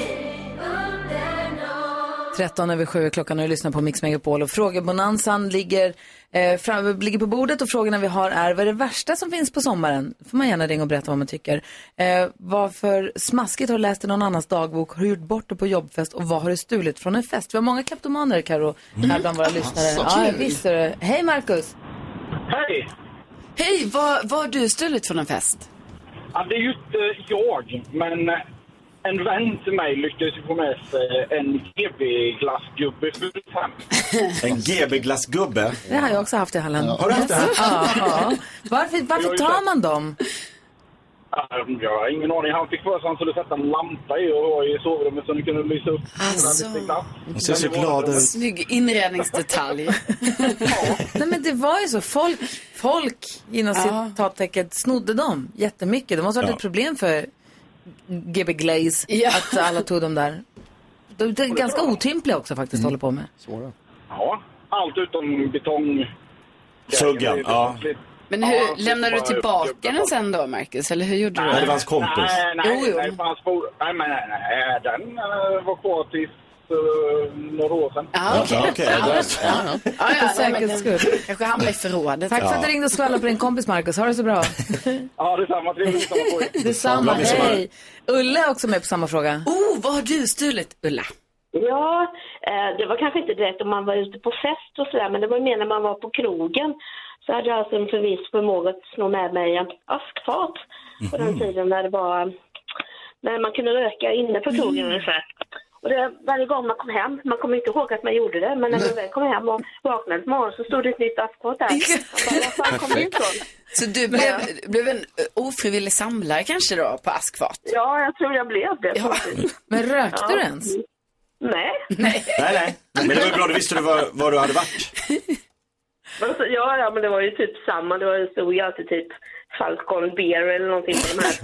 Speaker 1: 13 över 7 klockan och du lyssnar på Mix Megapol och frågebonanzan ligger, eh, fram, ligger på bordet och frågorna vi har är vad är det värsta som finns på sommaren? får man gärna ringa och berätta vad man tycker. Eh, varför smaskigt har du läst i någon annans dagbok? Har du gjort bort det på jobbfest? Och vad har du stulit från en fest? Vi har många kleptomaner Karo
Speaker 3: Mm.
Speaker 1: här bland våra lyssnare.
Speaker 7: Alltså,
Speaker 1: ja,
Speaker 7: kul.
Speaker 1: visst är det. Hej Marcus!
Speaker 12: Hej!
Speaker 7: Hej, vad, vad har du stulit från en fest?
Speaker 12: Ja, det är ju inte jag, men eh, en vän till mig lyckades ju få med sig eh, en GB-glassgubbe fullt hem.
Speaker 3: En GB-glassgubbe.
Speaker 1: Det har jag också haft i Halland.
Speaker 3: Ja. Har du haft det?
Speaker 1: Ja, ja. Varför, varför tar man dem?
Speaker 12: Ja, Jag har ingen aning. Han fick för sig att han skulle sätta en lampa i och ha i sovrummet så den kunde lysa upp.
Speaker 7: Alltså.
Speaker 3: Hon ser så glad ut.
Speaker 7: Snygg inredningsdetalj.
Speaker 1: Nej men det var ju så, folk, folk inom
Speaker 7: Ja.
Speaker 1: citattecken snodde dem jättemycket. Det måste ha varit
Speaker 7: Ja.
Speaker 1: ett problem för GB Glaze
Speaker 7: Ja.
Speaker 1: att alla tog dem där. De, de är ganska otympliga också faktiskt
Speaker 3: Mm.
Speaker 1: håller på med.
Speaker 5: Svåra.
Speaker 12: Ja, allt utom betong.
Speaker 3: Suggan, ja.
Speaker 7: Men hur,
Speaker 12: Ja,
Speaker 7: lämnade du
Speaker 12: bara
Speaker 7: tillbaka
Speaker 12: uppgubbar.
Speaker 7: den sen då, Marcus? Eller hur gjorde du?
Speaker 3: Nej, det var hans kompis.
Speaker 12: Nej, nej,
Speaker 7: Jo, jo.
Speaker 12: nej, för hans for... nej, men nej, nej, den eh, var kvar tills eh, några år sedan.
Speaker 7: Ja, okej. Ja, okej. Ja,
Speaker 1: ja,
Speaker 7: ja,
Speaker 1: För
Speaker 7: nej, men
Speaker 1: säkerhets
Speaker 7: den-
Speaker 1: skull.
Speaker 7: Kanske hamnade i förrådet.
Speaker 1: Tack för att du ringde och skvallrade på din kompis Marcus. Ha det så bra.
Speaker 12: Ja, detsamma. Trevligt att
Speaker 1: Detsamma.
Speaker 12: Glad midsommar.
Speaker 1: Hej. Ulla är också med på samma fråga.
Speaker 7: Oh, vad har du stulit, Ulla?
Speaker 15: Ja, eh, det var kanske inte direkt om man var ute på fest och sådär, men det var mer när man var på krogen. Så hade jag alltså en förviss förmåga att sno med mig en askfat på
Speaker 1: Mhm.
Speaker 15: den tiden när det var, när man kunde röka inne på krogen
Speaker 1: Mm.
Speaker 14: Mm.
Speaker 15: ungefär. Och det, varje gång man kom hem, man kommer inte ihåg att man gjorde det, men när man väl kom hem och vaknade på morgonen så stod det ett nytt askfat där.
Speaker 7: Perfekt. Så du blev, blev en eh, ofrivillig samlare kanske då, på askfat?
Speaker 15: Ja, jag tror jag blev det.
Speaker 1: Men rökte
Speaker 15: Ja.
Speaker 1: du ens?
Speaker 15: Nej.
Speaker 3: Nej, nej. Men det var ju bra, du visste du var, var du hade varit.
Speaker 15: Men så- Ja, ja, men det var ju typ samma. Det var ju stod ju alltid typ Falcon Beer eller någonting på de här,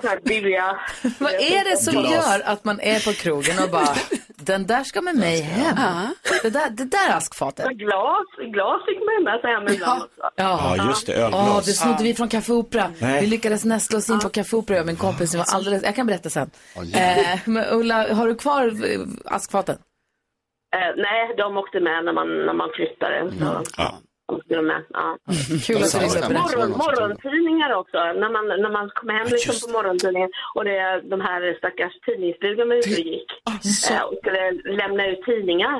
Speaker 15: de här billiga...
Speaker 1: Vad är det som
Speaker 15: Glas.
Speaker 1: gör att man är på krogen och bara, den där ska med mig hem. Det där, det där askfatet.
Speaker 15: Men Glas, glas fick man ju med sig hem ibland också.
Speaker 1: Ja,
Speaker 3: Ja, just det, ölglas.
Speaker 1: Ja, det snodde vi från Café Opera.
Speaker 3: Nej.
Speaker 1: Vi lyckades nästla oss in på Café Opera, jag och min kompis. som var alldeles, jag kan berätta sen. eh, men Ulla, har du kvar eh, askfaten?
Speaker 15: Eh, nej, de åkte med när man, när man flyttade. Så. de åkte med. Ja.
Speaker 1: Kul att du ringde och
Speaker 15: Morgon,
Speaker 1: berättade.
Speaker 15: morgontidningar också, när man, när man kom hem liksom på morgontidningen och det, de här stackars tidningsstugorna man ute och gick eh, och skulle lämna ut tidningar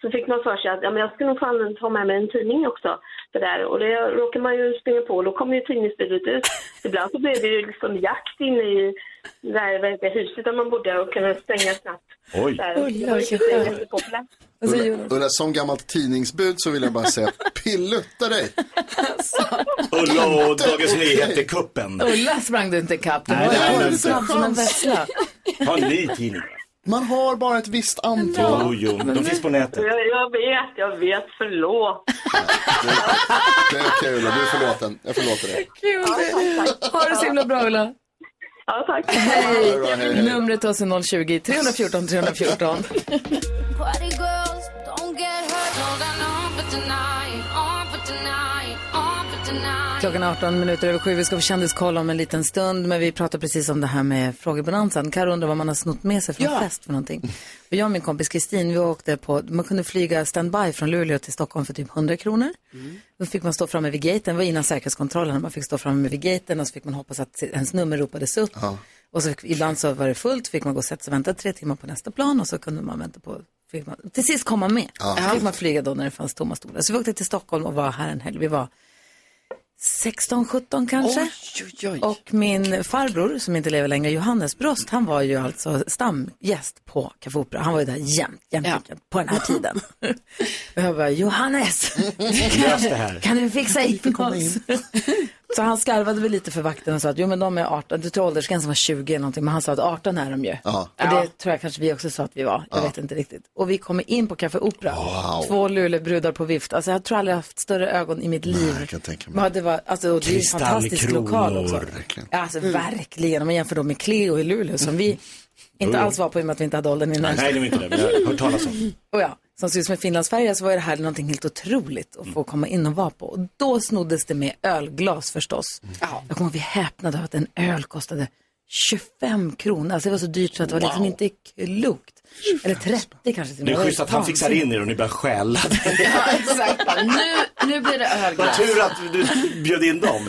Speaker 15: så fick man för sig att ja, men jag skulle nog fan ta med mig en tidning också. Det där. Och det råkar man ju springa på och då kommer ju tidningsbudet ut. Ibland så blev det ju liksom jakt inne i det där vad heter det, huset där man bodde och kunde stänga snabbt.
Speaker 5: Oj.
Speaker 15: Så här, det var
Speaker 1: Oj,
Speaker 15: ju
Speaker 1: vilken
Speaker 15: inte
Speaker 1: skön.
Speaker 15: jättepopulärt.
Speaker 5: Ulla, Ulla, som gammalt tidningsbud så vill jag bara säga pillutta dig.
Speaker 3: Ulla och Dagens Nyheter-kuppen.
Speaker 1: Ulla sprang du inte ikapp. Du
Speaker 3: Nej, det hade
Speaker 1: var
Speaker 3: jag
Speaker 1: ju
Speaker 3: inte.
Speaker 1: snabb som en vessla.
Speaker 3: Ha en ny tidning.
Speaker 5: Man har bara ett visst antal.
Speaker 3: Jo, jo, de finns på nätet.
Speaker 15: Jag, jag vet, jag vet, förlåt.
Speaker 5: Det är okej Ulla, du är förlåten. Jag förlåter dig.
Speaker 1: Kul! Ha det så himla bra, Ulla.
Speaker 15: Ja, tack.
Speaker 5: Ja, bra, hej,
Speaker 1: Hej!
Speaker 5: hej.
Speaker 1: Numret till oss är 020-314 314.
Speaker 14: Party girls, don't get
Speaker 1: Klockan är 18 minuter över sju. Vi ska få kändiskoll om en liten stund. Men vi pratade precis om det här med frågebonansen. Karo undrar vad man har snott med sig från
Speaker 16: Ja.
Speaker 1: fest för någonting. Och jag och min kompis Kristin, vi åkte på, man kunde flyga standby från Luleå till Stockholm för typ 100 kronor.
Speaker 7: Mm.
Speaker 1: Då fick man stå framme vid gaten, det var innan säkerhetskontrollen. Man fick stå framme vid gaten och så fick man hoppas att ens nummer ropades upp. Och så fick, ibland så var det fullt, fick man gå och sätta sig och vänta tre timmar på nästa plan och så kunde man vänta på, fick man, till sist kom man med.
Speaker 16: Ja.
Speaker 1: Så fick man flyga då när det fanns tomma stolar. Så vi åkte till Stockholm och var här en helg. Vi var 16, 17 kanske. Och min farbror, som inte lever längre, Johannes Brost, han var ju alltså stamgäst på Café Opera. Han var ju där jämt, jämt, jämt på den här tiden. och jag bara, Johannes,
Speaker 16: Lös det här.
Speaker 1: kan du fixa hit oss? Så han skarvade väl lite för vakten och sa att jo men de är 18, du tror åldersgränsen var 20 eller någonting, men han sa att 18 är de ju.
Speaker 5: Ja.
Speaker 1: Och det tror jag kanske vi också sa att vi var, jag
Speaker 5: Ja.
Speaker 1: vet inte riktigt. Och vi kommer in på Café Opera,
Speaker 5: Wow.
Speaker 1: två lulebrudar på vift. Alltså jag tror aldrig jag haft större ögon i mitt liv.
Speaker 5: Jag kan tänka mig.
Speaker 1: Ja, det var, alltså, och det är ju en fantastisk
Speaker 5: Kristallkronor.
Speaker 1: lokal också.
Speaker 5: Verkligen.
Speaker 1: Ja, Alltså verkligen, om man jämför då med Cleo i Luleå som vi inte
Speaker 3: Jo.
Speaker 1: alls var på i och med att vi inte hade åldern innan.
Speaker 3: Oh, Nej, det var inte det. Men jag har hört talas om.
Speaker 1: Och ja, som ser ut som en finlandsfärja så var ju det här någonting helt otroligt att
Speaker 3: Mm.
Speaker 1: få komma in och vara på. Och då snoddes det med ölglas förstås.
Speaker 3: Mm.
Speaker 1: Jag kommer ihåg vi häpnade av att en öl kostade 25 kronor. Alltså det var så dyrt så att det var
Speaker 3: Wow.
Speaker 1: liksom inte klokt. Eller 30 kanske till och
Speaker 3: Det
Speaker 1: med.
Speaker 3: är schysst att han fixar in er och ni börjar stjäla.
Speaker 16: Exakt. Nu, nu blir det
Speaker 3: Vad
Speaker 16: ölglass.
Speaker 3: tur att du bjöd in dem.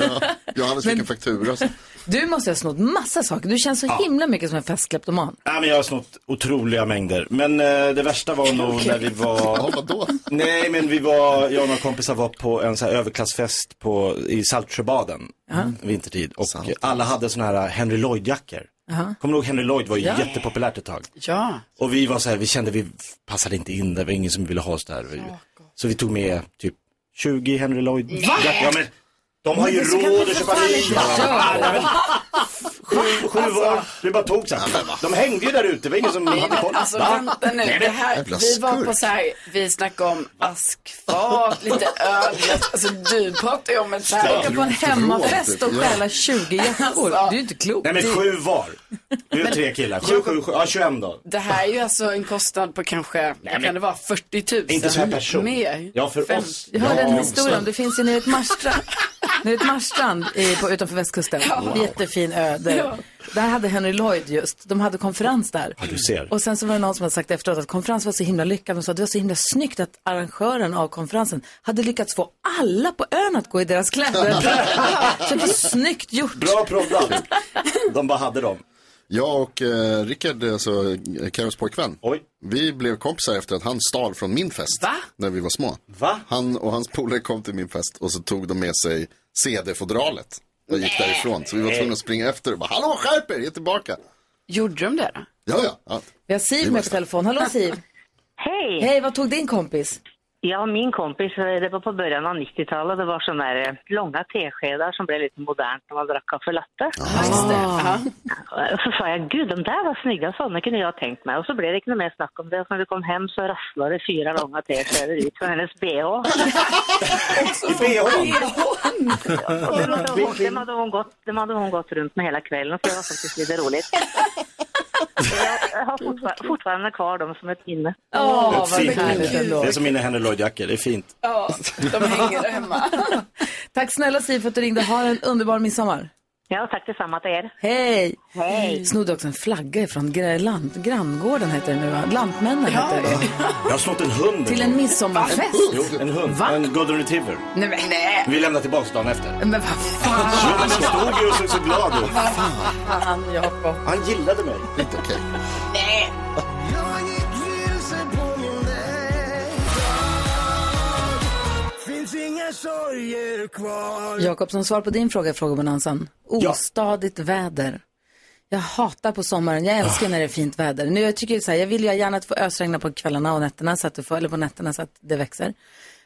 Speaker 5: Johannes fick en faktura.
Speaker 1: Du måste ha snott massa saker. Du känns så himla mycket som en festkleptoman.
Speaker 3: Nej, men jag har snott otroliga mängder. Men eh, det värsta var nog
Speaker 1: Okej.
Speaker 3: när vi var...
Speaker 1: Ja,
Speaker 5: vadå?
Speaker 3: Nej, men vi var, jag och några kompisar var på en så här överklassfest på, i Saltsjöbaden
Speaker 7: Mm.
Speaker 1: Ja.
Speaker 3: vintertid. Och alla hade såna här Henry Lloyd-jackor.
Speaker 1: Jaha.
Speaker 3: Kommer du ihåg Henry Lloyd var ju
Speaker 16: Ja.
Speaker 3: jättepopulärt ett tag.
Speaker 16: Ja.
Speaker 3: Och vi var så här, vi kände vi passade inte in där, det var ingen som ville ha oss där. Vi, så vi tog med typ 20 Henry Lloyd.
Speaker 16: Nej.
Speaker 3: Ja, men, de har ju
Speaker 16: Men så kan
Speaker 3: råd
Speaker 16: vi
Speaker 3: att
Speaker 16: för
Speaker 3: köpa
Speaker 16: fan
Speaker 3: nya.
Speaker 16: inte köra.
Speaker 3: Ja, men- Sju, sju var, det bara tog så här. De hängde ju där ute, det var ingen som
Speaker 16: Nej,
Speaker 3: hade koll.
Speaker 16: men alltså
Speaker 3: Va?
Speaker 16: vänta nu.
Speaker 3: Nej, men-
Speaker 16: Det här,
Speaker 3: Jävla
Speaker 16: vi var på
Speaker 3: skurk.
Speaker 16: så här, vi snackade om askfat, lite öl. Alltså du pratade ju om ett så här.
Speaker 1: Åka på
Speaker 3: typ.
Speaker 1: en hemmafest och stjäla 20 jackor. Det är ju inte klokt.
Speaker 3: Nej men sju var. Vi är tre killar. Sju, sju, sju, ja 21 då.
Speaker 16: Det här är ju alltså en kostnad på kanske,
Speaker 3: men-
Speaker 16: kan det vara 40 000?
Speaker 3: Inte per person.
Speaker 16: Mer.
Speaker 3: Ja för
Speaker 16: Fem.
Speaker 3: oss.
Speaker 1: Jag hörde en historia om, det finns ju nere i ett Marstrand, nere i ett Marstrand i, på, utanför västkusten.
Speaker 16: Ja.
Speaker 1: Jättefin ö. Där.
Speaker 16: Ja.
Speaker 1: där hade Henry Lloyd just, de hade konferens där.
Speaker 3: Ja du ser.
Speaker 1: Och sen så var det någon som hade sagt efteråt att konferensen var så himla lyckad. De sa att det var så himla snyggt att arrangören av konferensen hade lyckats få alla på ön att gå i deras kläder. så det var snyggt gjort.
Speaker 3: Bra proddat. De bara hade dem.
Speaker 5: Jag och eh, Rickard, alltså eh, Karos pojkvän, vi blev kompisar efter att han stal från min fest när vi var små. Han och hans polare kom till min fest och så tog de med sig CD-fodralet och gick därifrån. Så vi var tvungna att springa efter och bara, hallå skärp er, ge tillbaka.
Speaker 16: Gjorde de det då?
Speaker 5: Ja, ja. ja.
Speaker 1: Vi har Siv med på telefon. Hallå Siv.
Speaker 17: Hej!
Speaker 1: Hej, vad tog din kompis?
Speaker 17: Ja, min kompis, eh, det var på början av 90-talet, det var sådana här långa teskedar som blev lite modernt när man drack kaffe latte. Och så sa jag, gud de där var snygga, sådana kunde jag ha tänkt mig. Och så blev det inte något mer snack om det. Och när vi kom hem så rasslade det fyra långa teskedar ut från hennes bh.
Speaker 3: I bh?
Speaker 17: Och dem hade, hon, dem, hade hon gått, dem hade hon gått runt med hela kvällen, så det var faktiskt lite roligt. Jag jag har fortfar- fortfarande kvar dem som ett minne.
Speaker 1: Åh,
Speaker 3: Det är fint. Det är som mina Henry Lloyd-jackor, det är fint.
Speaker 16: Ja, de hänger hemma.
Speaker 1: Tack snälla Siv för att du ringde. Ha en underbar midsommar.
Speaker 17: Ja, tack detsamma till er.
Speaker 1: Hej!
Speaker 17: Hej.
Speaker 1: Snodde också en flagga från grand, granngården heter det nu va? Lantmännen heter det.
Speaker 3: Jag har snott en hund.
Speaker 1: Till en midsommarfest?
Speaker 3: Jo, en hund. En golden retriever.
Speaker 1: Nej, men, nej.
Speaker 3: Vi lämnade tillbaka dagen efter.
Speaker 1: Men vad fan?
Speaker 3: Jo, men den stod ju och såg så glad ut.
Speaker 1: Fan, Jakob.
Speaker 3: Han gillade mig.
Speaker 5: Inte okej.
Speaker 1: Jakob, som svar på din fråga i Frågebonanzan. Ostadigt väder. Jag hatar på sommaren. Jag
Speaker 3: Ah.
Speaker 1: älskar när det är fint väder. Nu, jag, tycker ju så här, jag vill ju gärna att få ösregna på kvällarna och nätterna så att du får, eller på nätterna så att det växer.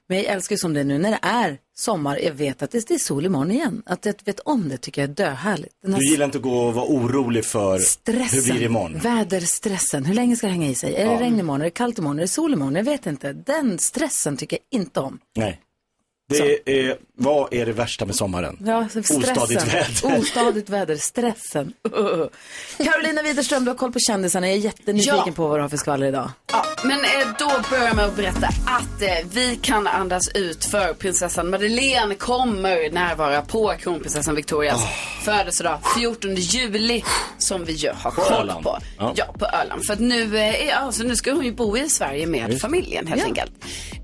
Speaker 1: Men jag älskar ju som det är nu när det är sommar. Jag vet att det är sol imorgon igen. Att jag vet om det tycker jag är döhärligt. Den här
Speaker 3: Du gillar inte att gå och vara orolig för
Speaker 1: stressen,
Speaker 3: hur blir det imorgon.
Speaker 1: väderstressen. Hur länge ska det hänga i sig? Är
Speaker 3: Ja.
Speaker 1: det regn imorgon? Är det kallt imorgon? Är det sol imorgon? Jag vet inte. Den stressen tycker jag inte om.
Speaker 3: Nej. Det är, vad är det värsta med sommaren?
Speaker 1: Ja, så stressen.
Speaker 3: Ostadigt väder.
Speaker 1: Ostadigt väder, stressen. Carolina Widerström, du har koll på kändisarna. Jag är jättenyfiken
Speaker 16: Ja.
Speaker 1: på vad du har för skvaller idag.
Speaker 16: Ja,
Speaker 7: Men eh, då börjar jag med att berätta att eh, vi kan andas ut för prinsessan Madeleine kommer närvara på kronprinsessan Victorias födelsedag 14 juli som vi ju har
Speaker 18: Ah. På
Speaker 7: koll
Speaker 18: Öland.
Speaker 7: på.
Speaker 18: Ja.
Speaker 7: Ja. på Öland. För att nu, eh, är- alltså, nu ska hon ju bo i Sverige med
Speaker 18: Visst.
Speaker 7: familjen helt
Speaker 18: Ja.
Speaker 7: enkelt.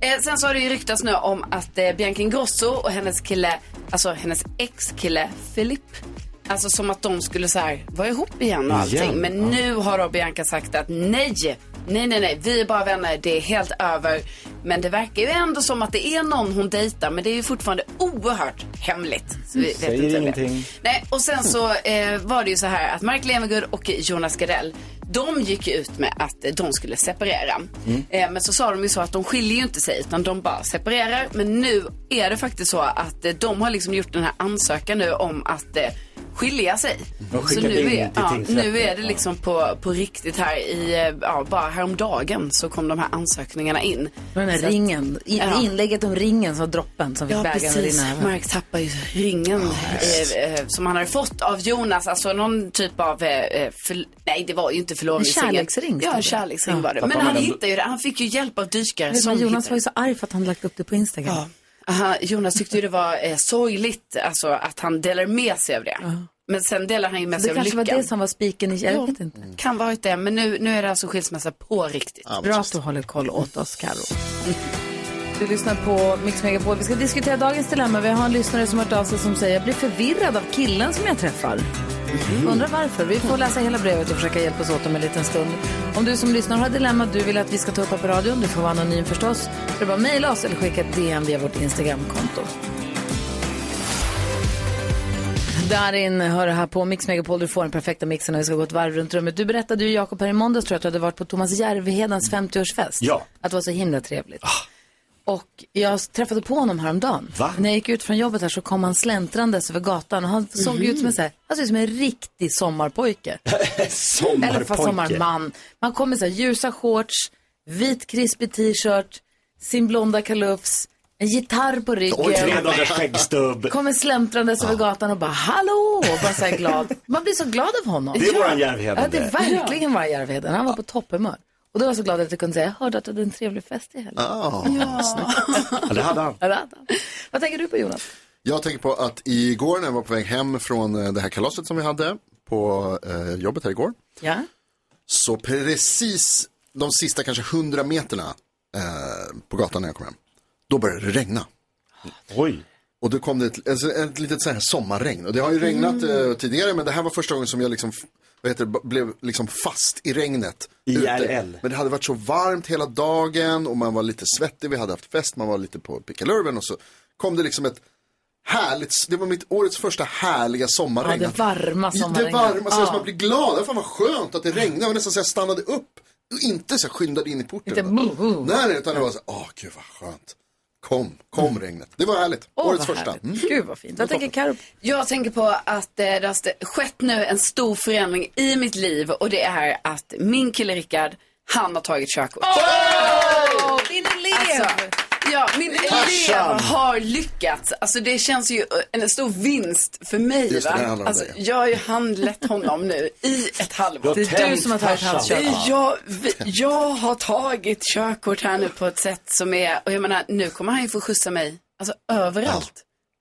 Speaker 7: Eh, sen så har det ju ryktats nu om att eh, Bianca Ingrosso och hennes kille, alltså hennes ex-kille Philip, alltså som att de skulle så här, vara ihop igen och allting.
Speaker 18: Igen,
Speaker 7: Men
Speaker 18: ja.
Speaker 7: nu har då Bianca sagt att nej, nej, nej, nej, vi är bara vänner, det är helt över. Men det verkar ju ändå som att det är någon hon dejtar, men det är ju fortfarande oerhört hemligt. Så vi vet inte
Speaker 3: Säger
Speaker 7: vem det är.
Speaker 3: ingenting.
Speaker 7: Nej, och sen så eh, var det ju så här att Mark Levengood och Jonas Gardell, de gick ju ut med att eh, de skulle separera.
Speaker 18: Mm.
Speaker 7: Eh, men så sa de ju så att de skiljer ju inte sig utan de bara separerar. Men nu är det faktiskt så att eh, de har liksom gjort den här ansökan nu om att eh, skilja sig.
Speaker 18: Mm. De har
Speaker 7: Så
Speaker 18: skickat
Speaker 7: nu
Speaker 18: in
Speaker 7: är,
Speaker 18: till
Speaker 7: ja,
Speaker 18: tingsrätten.
Speaker 7: nu är det liksom på, på riktigt här i, eh, ja, bara häromdagen så kom de här ansökningarna in.
Speaker 1: Den här
Speaker 7: Så att-
Speaker 1: ringen, i,
Speaker 7: Ja.
Speaker 1: inlägget om ringen som droppen som fick
Speaker 7: Ja,
Speaker 1: bägaren att
Speaker 7: precis.
Speaker 1: rinna över.
Speaker 7: Mark tappar ju ringen eh, eh, som han hade fått av Jonas. Alltså någon typ av, eh, eh, förl- nej det var ju inte förlovningsringen.
Speaker 1: En kärleksring,
Speaker 7: Ja,
Speaker 1: tror
Speaker 7: en
Speaker 1: jag.
Speaker 7: kärleksring var det.
Speaker 1: Ja.
Speaker 7: Men
Speaker 1: Pappa,
Speaker 7: han
Speaker 1: men-
Speaker 7: hittade ju det. Han fick ju hjälp av dykare
Speaker 1: Men
Speaker 7: som
Speaker 1: Jonas
Speaker 7: hittade
Speaker 1: var ju så arg för att han lagt upp det på Instagram.
Speaker 7: Aha, Jonas tyckte ju det var eh, sorgligt alltså, att han delar med sig av det. Men sen delar han ju med
Speaker 1: Så
Speaker 7: sig
Speaker 1: det
Speaker 7: av
Speaker 1: kanske
Speaker 7: lyckan.
Speaker 1: var det som var spiken i, jag
Speaker 7: Ja.
Speaker 1: vet inte.
Speaker 7: Kan vara det, men nu, nu är det alltså skilsmässa på riktigt.
Speaker 1: Bra att du håller koll åt oss, Karo. Du lyssnar på Mix Megapol. Vi ska diskutera dagens dilemma. Vi har en lyssnare som har hört av sig som säger jag blir förvirrad av killen som jag träffar. Undrar varför. Vi får läsa hela brevet och försöka hjälpas åt om en liten stund. Om du som lyssnar har ett dilemma du vill att vi ska ta upp här på radion, du får vara anonym förstås. Du bara mejla oss eller skicka ett DM via vårt Instagramkonto. Darin hör här på Mix Megapol. Du får den perfekta mixen och vi ska gå ett varv runt rummet. Du berättade ju Jakob här i måndags tror jag att du hade varit på Thomas Järvhedans 50-årsfest.
Speaker 18: Ja.
Speaker 1: Att det var så himla trevligt. Och jag träffade på honom häromdagen. Va? När jag gick ut från jobbet här så kom han släntrandes över gatan och han såg
Speaker 18: Mhm.
Speaker 1: ut som en, så här, han såg ut som en riktig sommarpojke.
Speaker 18: Sommarpojke.
Speaker 1: Eller fast sommarman. Man kom med så här ljusa shorts, vit krispig t-shirt, sin blonda kalufs, en gitarr på ryggen.
Speaker 3: Och tre dagars skäggstubb.
Speaker 1: Kommer släntrandes över gatan och bara hallå, och bara så här glad. Man blir så glad av honom.
Speaker 3: Det är våran Järvheden,
Speaker 1: Ja, det är
Speaker 3: det.
Speaker 1: verkligen våran Järvheden. Han var på topphumör. Och då var jag så glad att jag kunde säga, jag hörde att du hade en trevlig fest i helgen.
Speaker 5: Ah.
Speaker 3: Ja, det hade han.
Speaker 1: Ja, det hade han. Vad tänker du på Jonas?
Speaker 5: Jag tänker på att igår när jag var på väg hem från eh, det här kalaset som vi hade på eh, jobbet här igår.
Speaker 1: Ja.
Speaker 5: Så precis de sista kanske hundra meterna eh, på gatan när jag kom hem, då började det regna.
Speaker 3: Oj.
Speaker 5: Och då kom det ett, alltså ett litet så här sommarregn. Och det har ju regnat
Speaker 3: Mm.
Speaker 5: eh, tidigare, men det här var första gången som jag liksom, f- vad heter det, b- blev liksom fast i regnet.
Speaker 3: IRL.
Speaker 5: Ute. Men det hade varit så varmt hela dagen och man var lite svettig, vi hade haft fest, man var lite på pickalurven och så kom det liksom ett härligt, det var mitt årets första härliga sommarregn.
Speaker 1: Ja, det varma
Speaker 5: Det
Speaker 1: sommarregnet.
Speaker 5: varma, så
Speaker 1: Ja.
Speaker 5: att man blir glad. Fan vad skönt att det regnade. Jag var nästan så jag stannade upp och inte så jag skyndade in i porten.
Speaker 1: Inte boho.
Speaker 5: Nej, utan det var så här, åh gud vad skönt. Kom, kom regnet. Det var härligt.
Speaker 7: Åh,
Speaker 5: årets
Speaker 7: vad
Speaker 5: första.
Speaker 7: härligt.
Speaker 5: Mm.
Speaker 1: Gud Mm. vad fint. Vad tänker Karo?
Speaker 7: Jag tänker på att eh, det har st- skett nu en stor förändring i mitt liv och det är att min kille Rickard, han har tagit körkort.
Speaker 1: Åh, din elev!
Speaker 7: Alltså, ja, min
Speaker 1: Farsan.
Speaker 7: elev har lyckats. Alltså det känns ju eh, en stor vinst för mig.
Speaker 18: Just det,
Speaker 7: va?
Speaker 18: det handlar om
Speaker 7: alltså,
Speaker 18: dig.
Speaker 7: jag har ju handlett honom nu i ett halvår.
Speaker 18: Du har Det är du tänt som har tagit farsan. hans körkort.
Speaker 7: Det är jag, vi- jag har tagit körkort här nu på ett sätt som är, och jag menar nu kommer han ju få skjutsa mig, alltså överallt.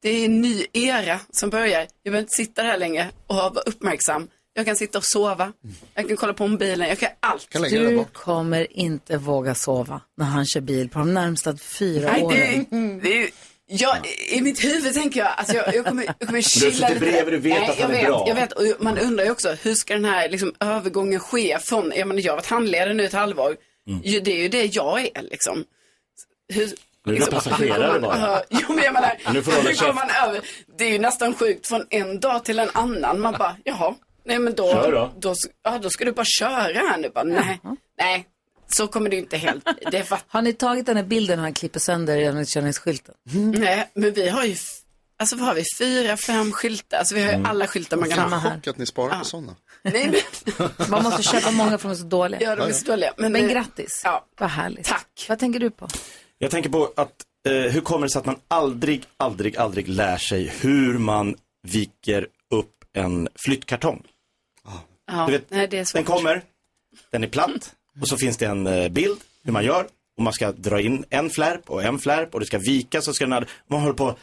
Speaker 7: Det är en ny era som börjar. Jag behöver inte sitta här längre och vara uppmärksam. Jag kan sitta och sova. Jag kan kolla på mobilen. Jag kan allt.
Speaker 1: Du kommer inte våga sova när han kör bil på de närmsta fyra
Speaker 7: Nej, det,
Speaker 1: åren.
Speaker 7: är- det, är- jag, I mitt huvud tänker jag att jag, jag kommer, jag kommer
Speaker 1: Men du
Speaker 7: chilla
Speaker 1: har suttit bredvid, du vet
Speaker 7: Nej,
Speaker 1: att
Speaker 7: jag
Speaker 1: han är
Speaker 7: vet,
Speaker 1: bra.
Speaker 7: Jag vet, och man undrar ju också hur ska den här liksom, övergången ske från, jag menar jag har varit handledare nu ett halvår. Ju, det är ju det jag är liksom. Hur, liksom,
Speaker 18: Nu är du passagerare bara.
Speaker 7: Ja, Jo men jag menar,
Speaker 18: Nu får du hålla
Speaker 7: hur går
Speaker 18: käft.
Speaker 7: man över? Det är ju nästan sjukt från en dag till en annan. Man bara, jaha, nej men då,
Speaker 18: Kör då.
Speaker 7: s- ja, då ska du bara köra här nu. Bara, nej, nej, så kommer det ju inte helt bli. Det fattar
Speaker 1: Har ni tagit den här bilden när han klipper sönder igenkänningsskylten?
Speaker 7: Nej, men vi har ju, f- alltså vad har vi, fyra, fem skyltar. Alltså vi har ju
Speaker 1: Mm.
Speaker 7: alla skyltar man kan
Speaker 5: Samma
Speaker 7: ha.
Speaker 5: här. Chock att ni sparar på sådana.
Speaker 7: Nej,
Speaker 1: men... Man måste köpa många för de är så dåliga.
Speaker 7: Ja, de är så dåliga.
Speaker 1: Men,
Speaker 7: Men det-
Speaker 1: grattis. Vad härligt.
Speaker 7: Tack.
Speaker 1: Vad tänker du på?
Speaker 3: Jag tänker på att eh, hur kommer det sig att man aldrig, aldrig, aldrig lär sig hur man viker upp en flyttkartong?
Speaker 7: Ja,
Speaker 3: Du vet,
Speaker 7: nej, det är svårt.
Speaker 3: Den kommer, den är platt och så finns det en eh, bild hur man gör. Och man ska dra in en flärp och en flärp och det ska vikas och ska den här, man håller på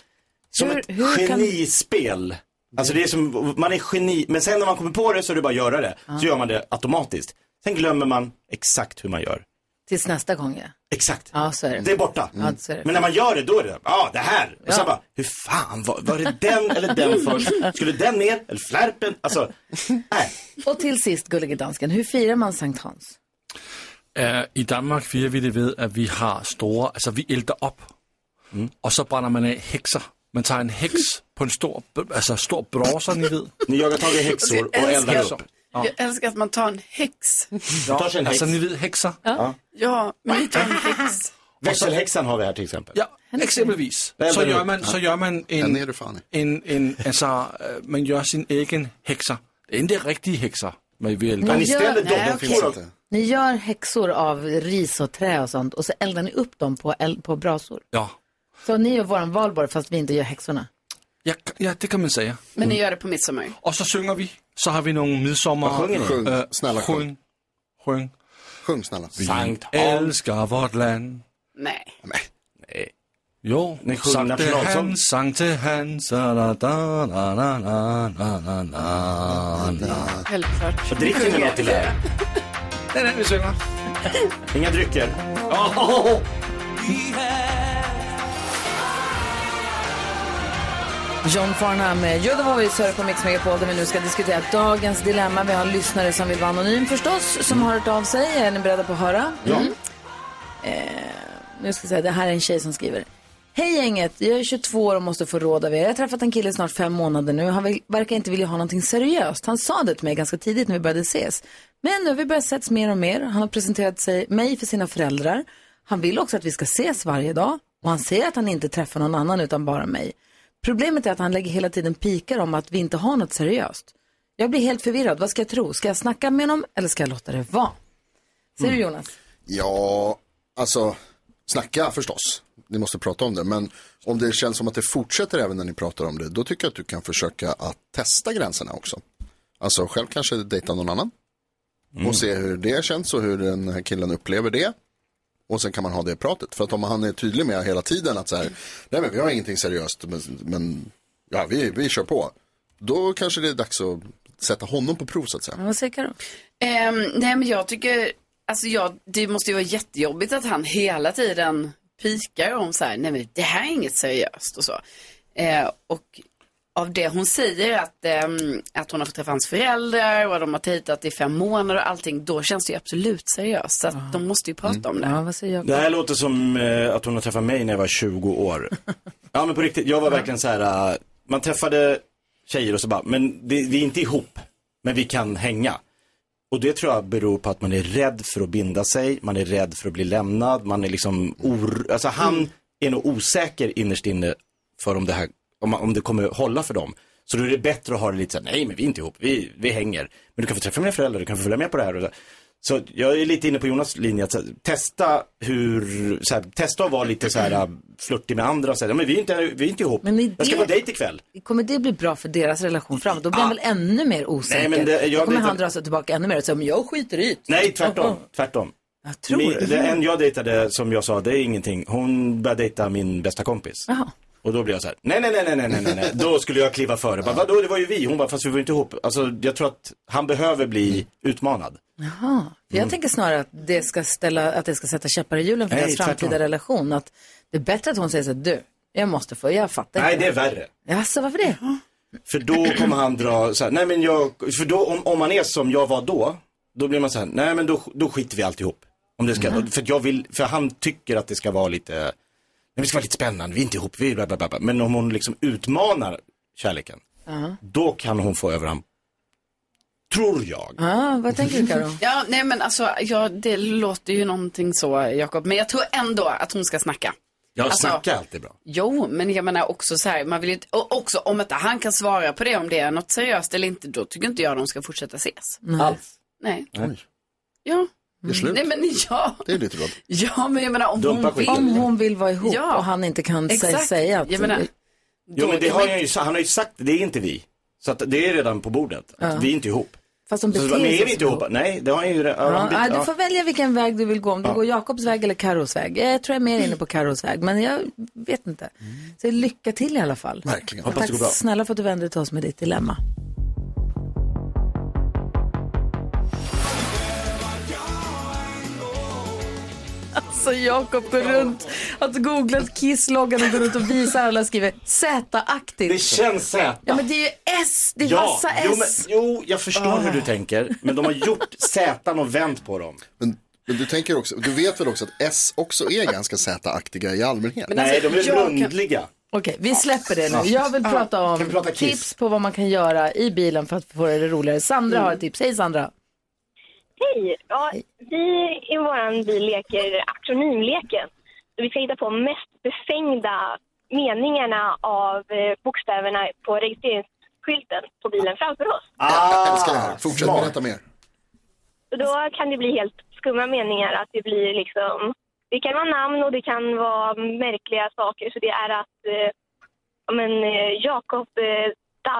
Speaker 3: som
Speaker 1: Hur-
Speaker 3: ett
Speaker 1: hur kan-
Speaker 3: genispel. Alltså det är som, man är geni, men sen när man kommer på det så är det bara att göra det.
Speaker 1: Ah.
Speaker 3: Så gör man det automatiskt. Sen glömmer man exakt hur man gör.
Speaker 1: Tills nästa gång, ja.
Speaker 3: Exakt.
Speaker 1: Ja, så är det.
Speaker 3: Det är borta.
Speaker 1: Ja, så är det.
Speaker 3: Men när man gör det, då är det, ja ah, det här. Och sen bara, hur fan, var, var det den eller den först? Skulle den ner? Eller flärpen? Alltså,
Speaker 1: Och till sist, gullige dansken, hur firar man Sankt Hans?
Speaker 13: Uh, I Danmark firer vi det ved, at vi har store, altså vi ælter op,
Speaker 3: Mm.
Speaker 13: og så brænder man af hekser. Man tager en heks på en stor, b- altså stor brorser, ni ved.
Speaker 3: Ni jager tag i
Speaker 16: Alltså, jag älskar- Jag älskar att man tar en häx.
Speaker 13: Ja,
Speaker 1: Alltså,
Speaker 13: altså ni ved hekser.
Speaker 3: Ja.
Speaker 16: Ja, men vi tar en häx.
Speaker 3: växelhäxan har vi här till exempel.
Speaker 13: Ja, eksempelvis.
Speaker 3: Hvad er
Speaker 13: Så
Speaker 3: det nu?
Speaker 13: gør man, så
Speaker 3: Ja.
Speaker 13: gør man en,
Speaker 3: Ja, det er
Speaker 13: en, en, altså, øh, man gør sin egen hekser. Det er ikke det rigtige hekser, man vil ælter.
Speaker 1: Ni gör- Nej, okej. Ni gör häxor av ris och trä och sånt och så eldar ni upp dem på, eld, på brasor.
Speaker 13: Ja.
Speaker 1: Så ni gör våran valborg fast vi inte gör häxorna.
Speaker 13: Ja, ja, det kan man säga.
Speaker 7: Men ni gör det på midsommar?
Speaker 13: Och så synger vi. Så har vi nogle midsommar...
Speaker 5: Hvad sjunger I? Sjung.
Speaker 13: Øh,
Speaker 5: Snälla, sjung.
Speaker 13: sjung. Sjung.
Speaker 5: Sjung snälla.
Speaker 13: Vi älskar vårt land.
Speaker 7: Nej.
Speaker 13: Jo,
Speaker 3: Ni sjunger
Speaker 13: sankte
Speaker 3: nationalsång.
Speaker 13: Hans, sankte Hans, da, da, da, da, da, da, da, da, da, da.
Speaker 7: Självklart.
Speaker 3: Så dricker ni något till det här?
Speaker 13: Det är den vi synger.
Speaker 3: Inga drycker.
Speaker 1: John Farnham med Jödovovic hör på Mix Megapol där vi nu ska diskutera dagens dilemma. Vi har en lyssnare som vill vara anonym förstås, som har hört av sig. Är ni beredda på att höra? Mm. Eh, nu ska jag säga, det här är en tjej som skriver. Hej gänget, jag är 22 år och måste få råd av er. Jag har träffat en kille i snart fem månader nu. Han vill, verkar inte vilja ha någonting seriöst. Han sa det till mig ganska tidigt när vi började ses. Men nu har vi börjat ses mer och mer. Han har presenterat sig, mig för sina föräldrar. Han vill också att vi ska ses varje dag. Och han säger att han inte träffar någon annan utan bara mig. Problemet är att han lägger hela tiden pikar om att vi inte har något seriöst. Jag blir helt förvirrad. Vad ska jag tro? Ska jag snacka med honom eller ska jag låta det vara? Säger du Jonas?
Speaker 5: Ja, alltså snacka förstås. Ni måste prata om det. Men om det känns som att det fortsätter även när ni pratar om det, då tycker jag att du kan försöka att testa gränserna också. Alltså själv kanske dejta någon annan. Och se hur det känns och hur den här killen upplever det. Och sen kan man ha det pratet. För att om han är tydlig med hela tiden att så här, nej men vi har ingenting seriöst, men, men ja, vi, vi kör på. Då kanske det är dags att sätta honom på prov så att säga.
Speaker 1: Vad säger Karo?
Speaker 7: Ehm, nej, men jag tycker, alltså jag, det måste ju vara jättejobbigt att han hela tiden pikar om så här, nej men det här är inget seriöst och så. Eh, och av det hon säger att, ehm, att hon har fått träffa hans föräldrar och att de har dejtat i fem månader och allting, då känns det ju absolut seriöst. Så att de måste ju prata om det.
Speaker 1: Ah. Mm. Ja, vad säger jag?
Speaker 3: Det här låter som eh, att hon har träffat mig när jag var 20 år. ja men på riktigt, jag var verkligen så här. eh, man träffade tjejer och så bara, men det, vi är inte ihop, men vi kan hänga. Och det tror jag beror på att man är rädd för att binda sig, man är rädd för att bli lämnad, man är liksom or... Alltså han är nog osäker innerst inne för om det här, om, om det kommer hålla för dem. Så då är det bättre att ha det lite såhär, nej men vi är inte ihop, vi, vi hänger. Men du kan få träffa mina föräldrar, du kan få följa med på det här och så. Så jag är lite inne på Jonas linje, att så här, testa hur, så här, testa att vara lite så här flörtig med andra och säga, "Ja, men vi är inte, vi är inte ihop,
Speaker 1: Men i
Speaker 3: jag ska
Speaker 1: det-
Speaker 3: på dejt ikväll.
Speaker 1: Kommer det bli bra för deras relation framåt? Då blir han väl ännu mer osäker?
Speaker 3: Ah. Nej, men det- jag
Speaker 1: Då kommer
Speaker 3: vet
Speaker 1: han
Speaker 3: inte.
Speaker 1: dra sig tillbaka ännu mer och säga, men jag skiter i det." Oh,
Speaker 3: Nej, tvärtom.
Speaker 1: Jaha.
Speaker 3: tvärtom.
Speaker 1: Jag tror
Speaker 3: min,
Speaker 1: det.
Speaker 3: det. En jag dejtade som jag sa, det är ingenting. Hon började dejta min bästa kompis.
Speaker 1: Jaha.
Speaker 3: Och då blev jag så här, nej, nej, nej, nej, nej, nej, nej, nej. Då skulle jag kliva före. Bara, Vadå, det var ju vi. Hon bara, fast vi var ju inte ihop. Alltså, jag tror att han behöver bli utmanad.
Speaker 1: Jaha. För jag tänker snarare att det ska, ställa, att det ska sätta käppar i hjulen för
Speaker 3: Mm. Nej,
Speaker 1: deras framtida
Speaker 3: tvärtom.
Speaker 1: relation. Att det är bättre att hon säger så här, du, jag måste få, jag fattar
Speaker 3: Nej, det är värre.
Speaker 1: Jaså, varför det?
Speaker 3: För då kommer han dra så här, nej men jag, för då om, om man är som jag var då, då blir man så här, nej men då, då skiter vi alltihop. Om det ska,
Speaker 1: Mm.
Speaker 3: för, att jag vill, för han tycker att det ska vara lite, nej men det ska vara lite spännande, vi är inte ihop, vi är bla, bla, bla, bla. Men om hon liksom utmanar kärleken,
Speaker 1: Ja,
Speaker 3: då kan hon få över honom. Tror jag.
Speaker 1: Ja, vad tänker du Karo?
Speaker 7: Ja, nej men alltså, ja, det låter ju någonting så, Jakob. Men jag tror ändå att hon ska snacka.
Speaker 3: Jag
Speaker 7: Alltså-
Speaker 3: snackar alltid bra.
Speaker 7: Jo, men jag menar också så här, man vill ju inte, och också om inte han kan svara på det, om det är något seriöst eller inte, då tycker inte jag de ska fortsätta ses.
Speaker 3: Alls.
Speaker 7: Nej,
Speaker 5: Oj,
Speaker 7: ja.
Speaker 5: det är slut.
Speaker 7: Nej men ja.
Speaker 5: Det är lite bra.
Speaker 7: Ja, men jag menar om
Speaker 3: Dumpa
Speaker 7: hon vill.
Speaker 3: skiten.
Speaker 1: Om hon vill vara ihop
Speaker 7: Ja.
Speaker 1: och han inte kan sä-
Speaker 7: Exakt.
Speaker 1: säga att...
Speaker 7: Jag menar,
Speaker 3: Jo men det har han ju, sa- han har ju sagt, det är inte vi. Så att det är redan på bordet, att
Speaker 1: Ja.
Speaker 3: vi är inte ihop.
Speaker 1: Fast de
Speaker 3: Så,
Speaker 1: beter
Speaker 3: men
Speaker 1: sig
Speaker 3: är vi
Speaker 1: så.
Speaker 3: inte ihop? Nej, det har han ju...
Speaker 1: Ja,
Speaker 3: han-
Speaker 1: ja, ah, du får välja vilken väg du vill gå, om du
Speaker 3: Ja.
Speaker 1: går Jakobs väg eller Karos väg. Eh, Jag tror jag är mer inne på Karos väg, men jag vet inte. Så lycka till i alla fall.
Speaker 5: Verkligen.
Speaker 1: Och
Speaker 5: Hoppas det
Speaker 1: tack
Speaker 5: går bra.
Speaker 1: snälla för att du vände dig till oss med ditt dilemma. Alltså Jakob går runt, har googlat Kiss-loggan och går runt och visar alla och skriver Z-aktigt.
Speaker 3: Det känns Z.
Speaker 1: Ja men det är ju S, det är massa S.
Speaker 3: jo, men, jo, jag förstår hur du tänker, men de har gjort Z och vänt på dem.
Speaker 5: Men, men du tänker också, du vet väl också att S också är ganska Z-aktiga i allmänhet?
Speaker 1: Men alltså, Nej, de är jag kan-
Speaker 3: rundliga.
Speaker 1: Okej, vi släpper det
Speaker 5: Ja.
Speaker 1: nu. Jag vill
Speaker 5: Ja.
Speaker 1: prata om
Speaker 5: Kan vi prata Kiss?
Speaker 1: tips på vad man kan göra i bilen för att få det roligare. Sandra har ett tips. Hej Sandra!
Speaker 19: Hej! Ja, vi i vår bil leker akronymleken. Så vi ska hitta på mest befängda meningarna av eh, bokstäverna på registreringsskylten på bilen framför oss.
Speaker 5: Jag älskar det här, fortsätt
Speaker 3: Ah, smart.
Speaker 5: berätta mer.
Speaker 19: Så då kan det bli helt skumma meningar. Att det blir liksom... Det kan vara namn och det kan vara märkliga saker. Så det är att eh, ja, men, eh, Jakob eh, da,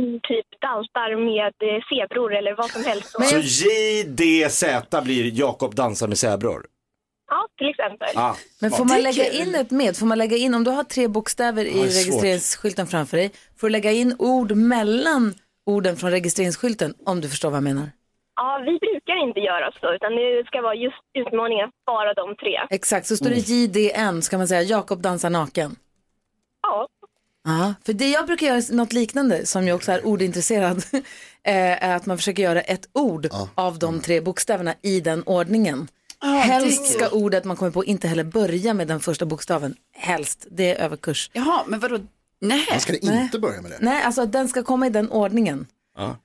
Speaker 19: mm, typ daltar med eh, zebror eller vad som helst.
Speaker 3: Så JDZ blir Jakob dansar med zäbror.
Speaker 19: Ja, till exempel.
Speaker 3: Ah,
Speaker 1: Men
Speaker 3: smart.
Speaker 1: får
Speaker 19: Det
Speaker 1: man
Speaker 19: är
Speaker 1: lägga
Speaker 19: kul.
Speaker 1: in ett med? Får man lägga in, om du har tre bokstäver
Speaker 3: Ja,
Speaker 1: i
Speaker 3: det är svårt.
Speaker 1: registreringsskylten framför dig, får du lägga in ord mellan orden från registreringsskylten om du förstår vad jag menar?
Speaker 19: Ja, vi brukar inte göra så, utan det ska vara just utmaningen att spara de tre.
Speaker 1: Exakt, så står det JDN, ska man säga Jakob dansar naken.
Speaker 19: Ja.
Speaker 1: Ja, för det jag brukar göra något liknande som jag också är ordintresserad eh, är att man försöker göra ett ord av de tre bokstäverna i den ordningen. Helst
Speaker 16: det är
Speaker 1: ska ordet man kommer på inte heller börja med den första bokstaven. Helst, det är överkurs.
Speaker 16: Jaha, men vadå? Nej.
Speaker 1: Man ska det inte
Speaker 16: Nej.
Speaker 5: börja med det.
Speaker 1: Nej, alltså den ska komma i den ordningen.
Speaker 3: Ja.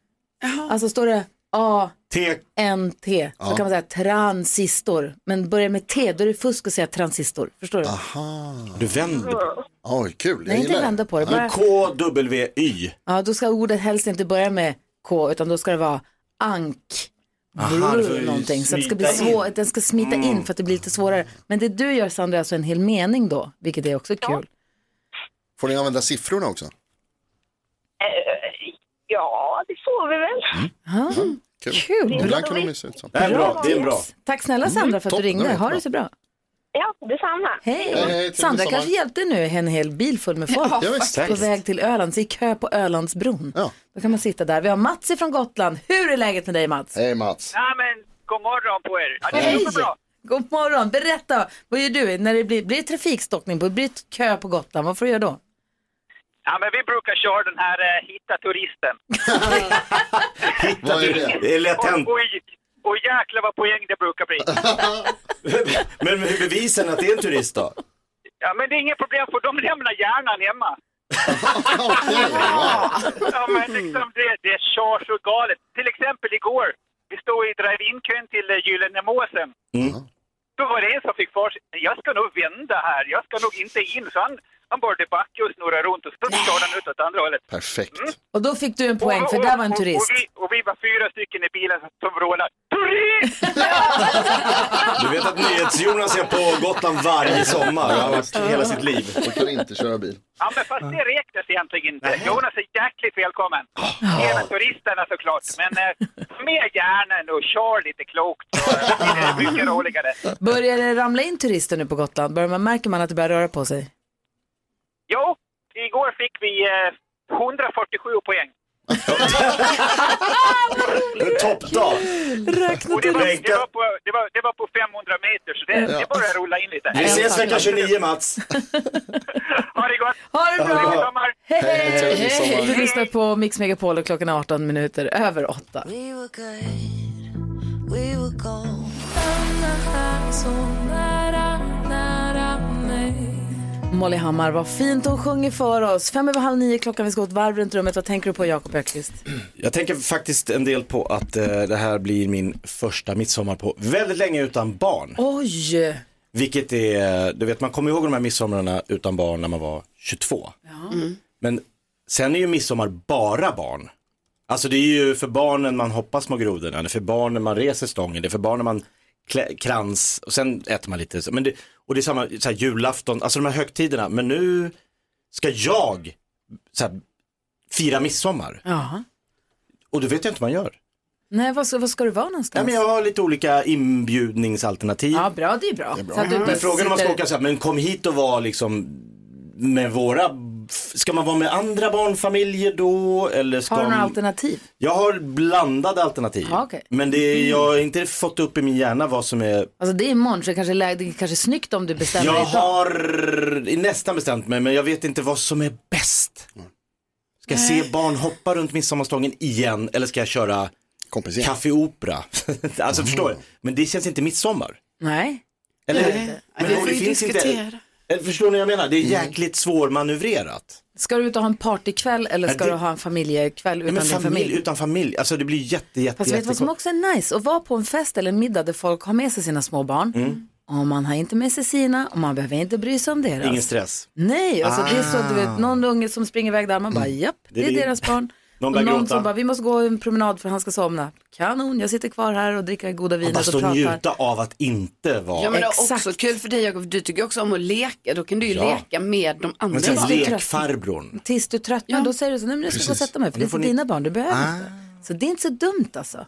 Speaker 1: Alltså står det A,
Speaker 3: T.
Speaker 1: N, T, så
Speaker 5: Ja.
Speaker 1: kan man säga transistor. Men börjar med T, då är det fusk att säga transistor. Förstår du?
Speaker 5: Aha.
Speaker 3: Du vänder på
Speaker 5: Oj, kul.
Speaker 1: Nej, inte vända på det, bara-
Speaker 3: K-W-Y.
Speaker 1: Ja, då ska ordet helst inte börja med K, utan då ska det vara ank.
Speaker 3: Aha, det får
Speaker 1: Brr,
Speaker 3: ju
Speaker 1: någonting. Så att det ska bli
Speaker 3: smita in.
Speaker 1: svår, den ska smita
Speaker 3: Mm.
Speaker 1: in för att det blir lite svårare. Men det du gör Sandra är alltså en hel mening då, vilket är också kul.
Speaker 5: Får ni använda siffrorna också?
Speaker 19: Eh, ja, det får vi väl.
Speaker 10: Mm.
Speaker 1: Ja,
Speaker 5: Kul.
Speaker 1: Kul.
Speaker 5: Ibland kan de ju se ut så.
Speaker 1: Det är bra, det är bra. Tack snälla Sandra för att du
Speaker 5: Mm, Toppen,
Speaker 1: ringde.
Speaker 5: det var
Speaker 1: Ha
Speaker 5: jättebra.
Speaker 1: det så bra.
Speaker 19: Ja, detsamma.
Speaker 1: Hej!
Speaker 5: Hej, hej, trevlig
Speaker 1: Sandra
Speaker 5: sommar.
Speaker 1: kanske hjälpte nu en hel bil full med folk
Speaker 5: Ja, Ja, visst.
Speaker 1: på
Speaker 5: faktiskt.
Speaker 1: väg till Öland, så i kö på Ölandsbron. Då kan man sitta där. Vi har Mats från Gotland. Hur är läget med dig Mats?
Speaker 5: Hej Mats.
Speaker 20: Ja, men god morgon på er. Ja, det är
Speaker 1: Hej!
Speaker 20: superbra.
Speaker 1: God morgon! Berätta, vad gör du när det blir, blir det trafikstockning, på, blir det kö på Gotland? Vad får du göra då?
Speaker 20: Ja, men vi brukar köra den här eh, hitta turisten.
Speaker 3: Vad är det? Det är lätt hänt.
Speaker 20: Och, och, och jäklar vad poäng det brukar bli.
Speaker 3: Men hur bevisen att det är en turist då?
Speaker 20: Ja, men det är inget problem för de lämnar hjärnan hemma. ja, men liksom det, det kör så galet. Till exempel igår, vi stod i drive-in-kön till eh, Gyllene Måsen.
Speaker 10: Mm.
Speaker 20: Då var det en som fick för sig, jag ska nog vända här, jag ska nog inte in. Så han, han började backa och snurra runt och så körde han ut åt andra hållet.
Speaker 5: Perfekt.
Speaker 1: Och då fick du en poäng, för där var en
Speaker 20: Och,
Speaker 1: turist.
Speaker 20: och, vi, och vi var fyra stycken i bilen som vrålade ”Turist!”
Speaker 3: Du vet att NyhetsJonas är på Gotland varje sommar. Han har varit hela sitt liv.
Speaker 5: Och kan inte köra bil.
Speaker 20: Ja, men fast det räknas egentligen inte. Jonas är jäkligt välkommen. Även turisterna såklart. Men eh, ta med hjärnan och kör lite klokt så eh, blir det mycket roligare.
Speaker 1: Börjar det ramla in turister nu på Gotland? Börjar man, märker man att det börjar röra på sig?
Speaker 20: Jo, igår fick vi eh, 147 poäng.
Speaker 3: Toppdag!
Speaker 1: Räkna
Speaker 20: Och det, var, det, var på, det, var, det var på 500 meter, så det,
Speaker 3: Ja.
Speaker 20: det börjar rulla in lite.
Speaker 3: Vi ses vecka 29 Mats.
Speaker 1: Ha det
Speaker 20: Trevlig
Speaker 1: bra!
Speaker 20: sommar.
Speaker 1: Hej!
Speaker 3: Hej,
Speaker 1: Hej,
Speaker 3: trevlig sommar.
Speaker 1: Du lyssnar på Mix Megapol och klockan är 18 minuter över 8.
Speaker 14: We were good, we were gold.
Speaker 1: Molly Hammar, vad fint hon sjunger för oss. Fem över halv nio klockan, vi ska gå ett varv runt rummet. Vad tänker du på Jakob Öqvist?
Speaker 3: Jag tänker faktiskt en del på att eh, det här blir min första midsommar på väldigt länge utan barn.
Speaker 1: Oj!
Speaker 3: Vilket är, du vet man kommer ihåg de här midsommarna utan barn när man var 22. Men sen är ju midsommar bara barn. Alltså det är ju för barnen man hoppar små grodorna, det är för barnen man reser stången, det är för barnen man klä, krans och sen äter man lite. så. Men det, och det är samma, så här, julafton, alltså de här högtiderna. Men nu ska jag så här, fira midsommar.
Speaker 1: Jaha.
Speaker 3: Och det vet jag inte vad man gör.
Speaker 1: Nej, vad ska, vad ska du vara
Speaker 3: Nej,
Speaker 1: någonstans?
Speaker 3: men jag har lite olika inbjudningsalternativ.
Speaker 1: Ja, bra, det är bra.
Speaker 3: Det är bra.
Speaker 1: Så att du
Speaker 3: Men
Speaker 1: inte
Speaker 3: frågan är om man ska
Speaker 1: sitter-
Speaker 3: åka så här, men kom hit och var liksom med våra, ska man vara med andra barnfamiljer då? Eller ska
Speaker 1: Har du några
Speaker 3: man-
Speaker 1: alternativ?
Speaker 3: Jag har blandade alternativ.
Speaker 1: Ja, okej. Mm.
Speaker 3: Men det är, jag har inte fått upp i min hjärna vad som är
Speaker 1: Alltså det är imorgon så det kanske är, läge, det är kanske är snyggt om du bestämmer
Speaker 3: Jag
Speaker 1: idag.
Speaker 3: har nästan bestämt mig men jag vet inte vad som är bäst. Ska jag se barn hoppa runt midsommarstången igen eller ska jag köra Café Opera? alltså förstår du? Men det känns inte midsommar.
Speaker 1: Nej.
Speaker 3: Eller,
Speaker 1: Nej.
Speaker 3: men
Speaker 1: Vi
Speaker 3: om
Speaker 1: får
Speaker 3: det
Speaker 1: ju
Speaker 3: finns inte-
Speaker 1: diskutera.
Speaker 3: eller förstår ni vad jag menar? Det är jäkligt svårmanövrerat.
Speaker 1: Ska du ut och ha en partykväll eller ska
Speaker 3: Nej, det-
Speaker 1: du ha en familjekväll
Speaker 3: Nej,
Speaker 1: utan
Speaker 3: men
Speaker 1: din
Speaker 3: familj,
Speaker 1: familj?
Speaker 3: utan familj, alltså det blir jätte, jätte,
Speaker 1: Fast vet du vad som också är nice? Att vara på en fest eller en middag där folk har med sig sina små barn.
Speaker 3: Mm.
Speaker 1: Och man har inte med sig sina och man behöver inte bry sig om deras.
Speaker 3: Ingen stress.
Speaker 1: Nej, alltså det är så du
Speaker 3: Ah. Mm.
Speaker 1: vet, någon unge som springer iväg där, man bara japp,
Speaker 3: Det
Speaker 1: det
Speaker 3: är
Speaker 1: är,
Speaker 3: din.
Speaker 1: deras barn.
Speaker 3: Någon
Speaker 1: Någon,
Speaker 3: börjar
Speaker 1: och någon
Speaker 3: gråta.
Speaker 1: som bara, vi måste gå en promenad för han ska somna. Kanon, jag sitter kvar här och dricker det goda
Speaker 3: Att
Speaker 1: vinet
Speaker 3: bara
Speaker 1: och
Speaker 3: stå
Speaker 1: pratar. Alltså,
Speaker 3: och njuta av att inte vara.
Speaker 7: Ja, men det är också kul för dig Jakob, du tycker också om att leka, då kan du ju
Speaker 3: Ja.
Speaker 7: leka med de andra.
Speaker 3: Men sen
Speaker 7: barnen.
Speaker 3: lekfarbrorn.
Speaker 1: Tills du tröttnar, då säger du så, nej men jag ska gå och
Speaker 3: Precis.
Speaker 1: sätta mig, för
Speaker 3: Nu
Speaker 1: det är
Speaker 3: får
Speaker 1: för
Speaker 3: ni-
Speaker 1: dina barn, du behöver
Speaker 3: Ah.
Speaker 1: inte. Så det är inte så dumt alltså.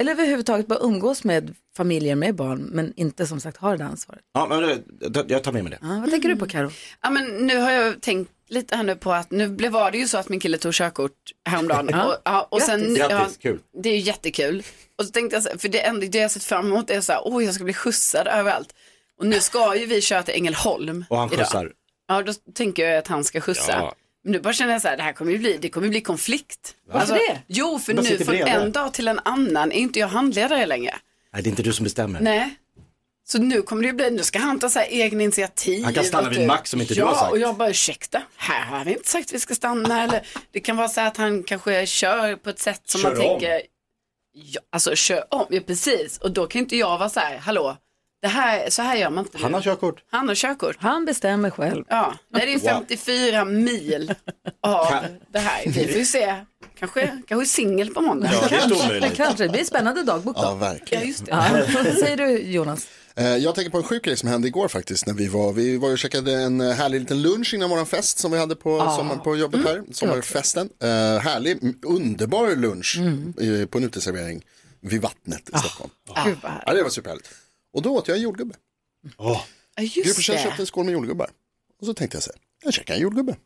Speaker 1: Eller överhuvudtaget bara umgås med familjer med barn, men inte som sagt ha det där ansvaret.
Speaker 3: Ja, men det- jag tar med mig det.
Speaker 1: Ja, vad tänker du på Karo?
Speaker 7: Mm. Ja, men nu har jag tänkt lite här nu på att nu blev var det ju så att min kille tog körkort häromdagen.
Speaker 1: Ja.
Speaker 7: Och, ja, och sen,
Speaker 1: Grattis.
Speaker 7: ja,
Speaker 1: Grattis, kul.
Speaker 7: Det är ju jättekul. Och så tänkte jag, så här, för det enda det jag sett fram emot är så här, oj jag ska bli skjutsad överallt. Och nu ska ju vi köra till Ängelholm
Speaker 3: Och han
Speaker 7: idag.
Speaker 3: skjutsar.
Speaker 7: Ja, då tänker jag att han ska skjutsa.
Speaker 3: Ja.
Speaker 7: Men nu bara känner jag så här, det här kommer ju bli, det kommer ju bli konflikt. Alltså,
Speaker 3: Varför
Speaker 1: det?
Speaker 7: Jo, för
Speaker 3: Bara
Speaker 7: nu
Speaker 3: sitter
Speaker 7: från
Speaker 3: bredvid.
Speaker 7: en dag till en annan är inte jag handledare längre.
Speaker 3: Nej, det är inte du som bestämmer.
Speaker 7: Nej. Så nu kommer det ju bli, nu ska han ta så här egna initiativ.
Speaker 3: Han kan stanna
Speaker 7: Och
Speaker 3: vid
Speaker 7: du-
Speaker 3: Max som inte du
Speaker 7: ja,
Speaker 3: har sagt.
Speaker 7: och jag bara ursäkta, här har vi inte sagt att vi ska stanna. Eller det kan vara så här att han kanske kör på ett sätt som
Speaker 3: Kör
Speaker 7: man
Speaker 3: om.
Speaker 7: tänker, ja, alltså kör om, ja precis. Och då kan inte jag vara så här, hallå, det här, så här gör man inte.
Speaker 3: Han har körkort.
Speaker 7: Han har körkort.
Speaker 1: Han bestämmer själv.
Speaker 7: Ja, nej, det är 54 mil av det här. Vi får ju se, kanske, kanske singel på måndag.
Speaker 5: Ja, det är inte omöjligt.
Speaker 1: Kanske, det blir en spännande dagbok då.
Speaker 5: Ja, verkligen.
Speaker 7: Ja, just det.
Speaker 1: Ja. Vad säger du Jonas?
Speaker 5: Eh, Jag tänker på en sjuk grej som hände igår faktiskt. När vi, var, vi var och käkade en eh, härlig liten lunch innan våran fest som vi hade på,
Speaker 1: Ah.
Speaker 5: sommar, på jobbet
Speaker 7: Mm.
Speaker 5: här. Sommarfesten. Eh, härlig, m- underbar lunch
Speaker 7: Mm.
Speaker 5: eh, på en uteservering vid vattnet i Stockholm.
Speaker 7: Ah. Gud vad härligt.
Speaker 5: Ja, det var superhärligt. Och då åt jag en jordgubbe.
Speaker 7: Ja,
Speaker 5: Gry
Speaker 7: just
Speaker 5: Forssell
Speaker 7: det.
Speaker 5: köpte en skål med jordgubbar. Och så tänkte jag så här, jag käkar en jordgubbe.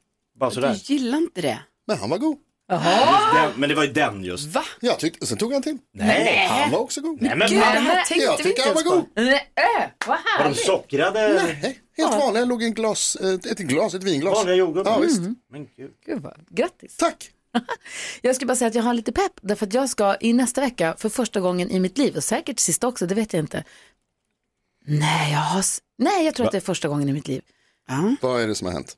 Speaker 3: Bara sådär.
Speaker 7: Du gillar inte det?
Speaker 5: Men han var god.
Speaker 3: Den, men det var ju den just.
Speaker 7: Va?
Speaker 5: Jag tyckte, sen tog han till.
Speaker 3: Nej.
Speaker 5: Han var också god.
Speaker 3: Nej, men Gud, det här mamma. tänkte
Speaker 5: jag
Speaker 3: vi
Speaker 5: tycker
Speaker 3: inte
Speaker 5: han var
Speaker 3: ens på.
Speaker 5: god.
Speaker 1: Nej, vad
Speaker 3: Var de sockrade?
Speaker 5: Nej, helt vanliga. Låg i en glas, eh, ett, ett glas, ett vinglas.
Speaker 3: Vanliga jordgubbar.
Speaker 5: Ja,
Speaker 7: Mm.
Speaker 5: visst.
Speaker 3: Men gud.
Speaker 1: Gud vad, grattis.
Speaker 5: Tack.
Speaker 1: jag skulle bara säga att jag har lite pepp, därför att jag ska i nästa vecka, för första gången i mitt liv, och säkert sista också, det vet jag inte. Nej, jag har, s- nej, jag tror att det är första gången i mitt liv.
Speaker 5: Vad är det som har hänt?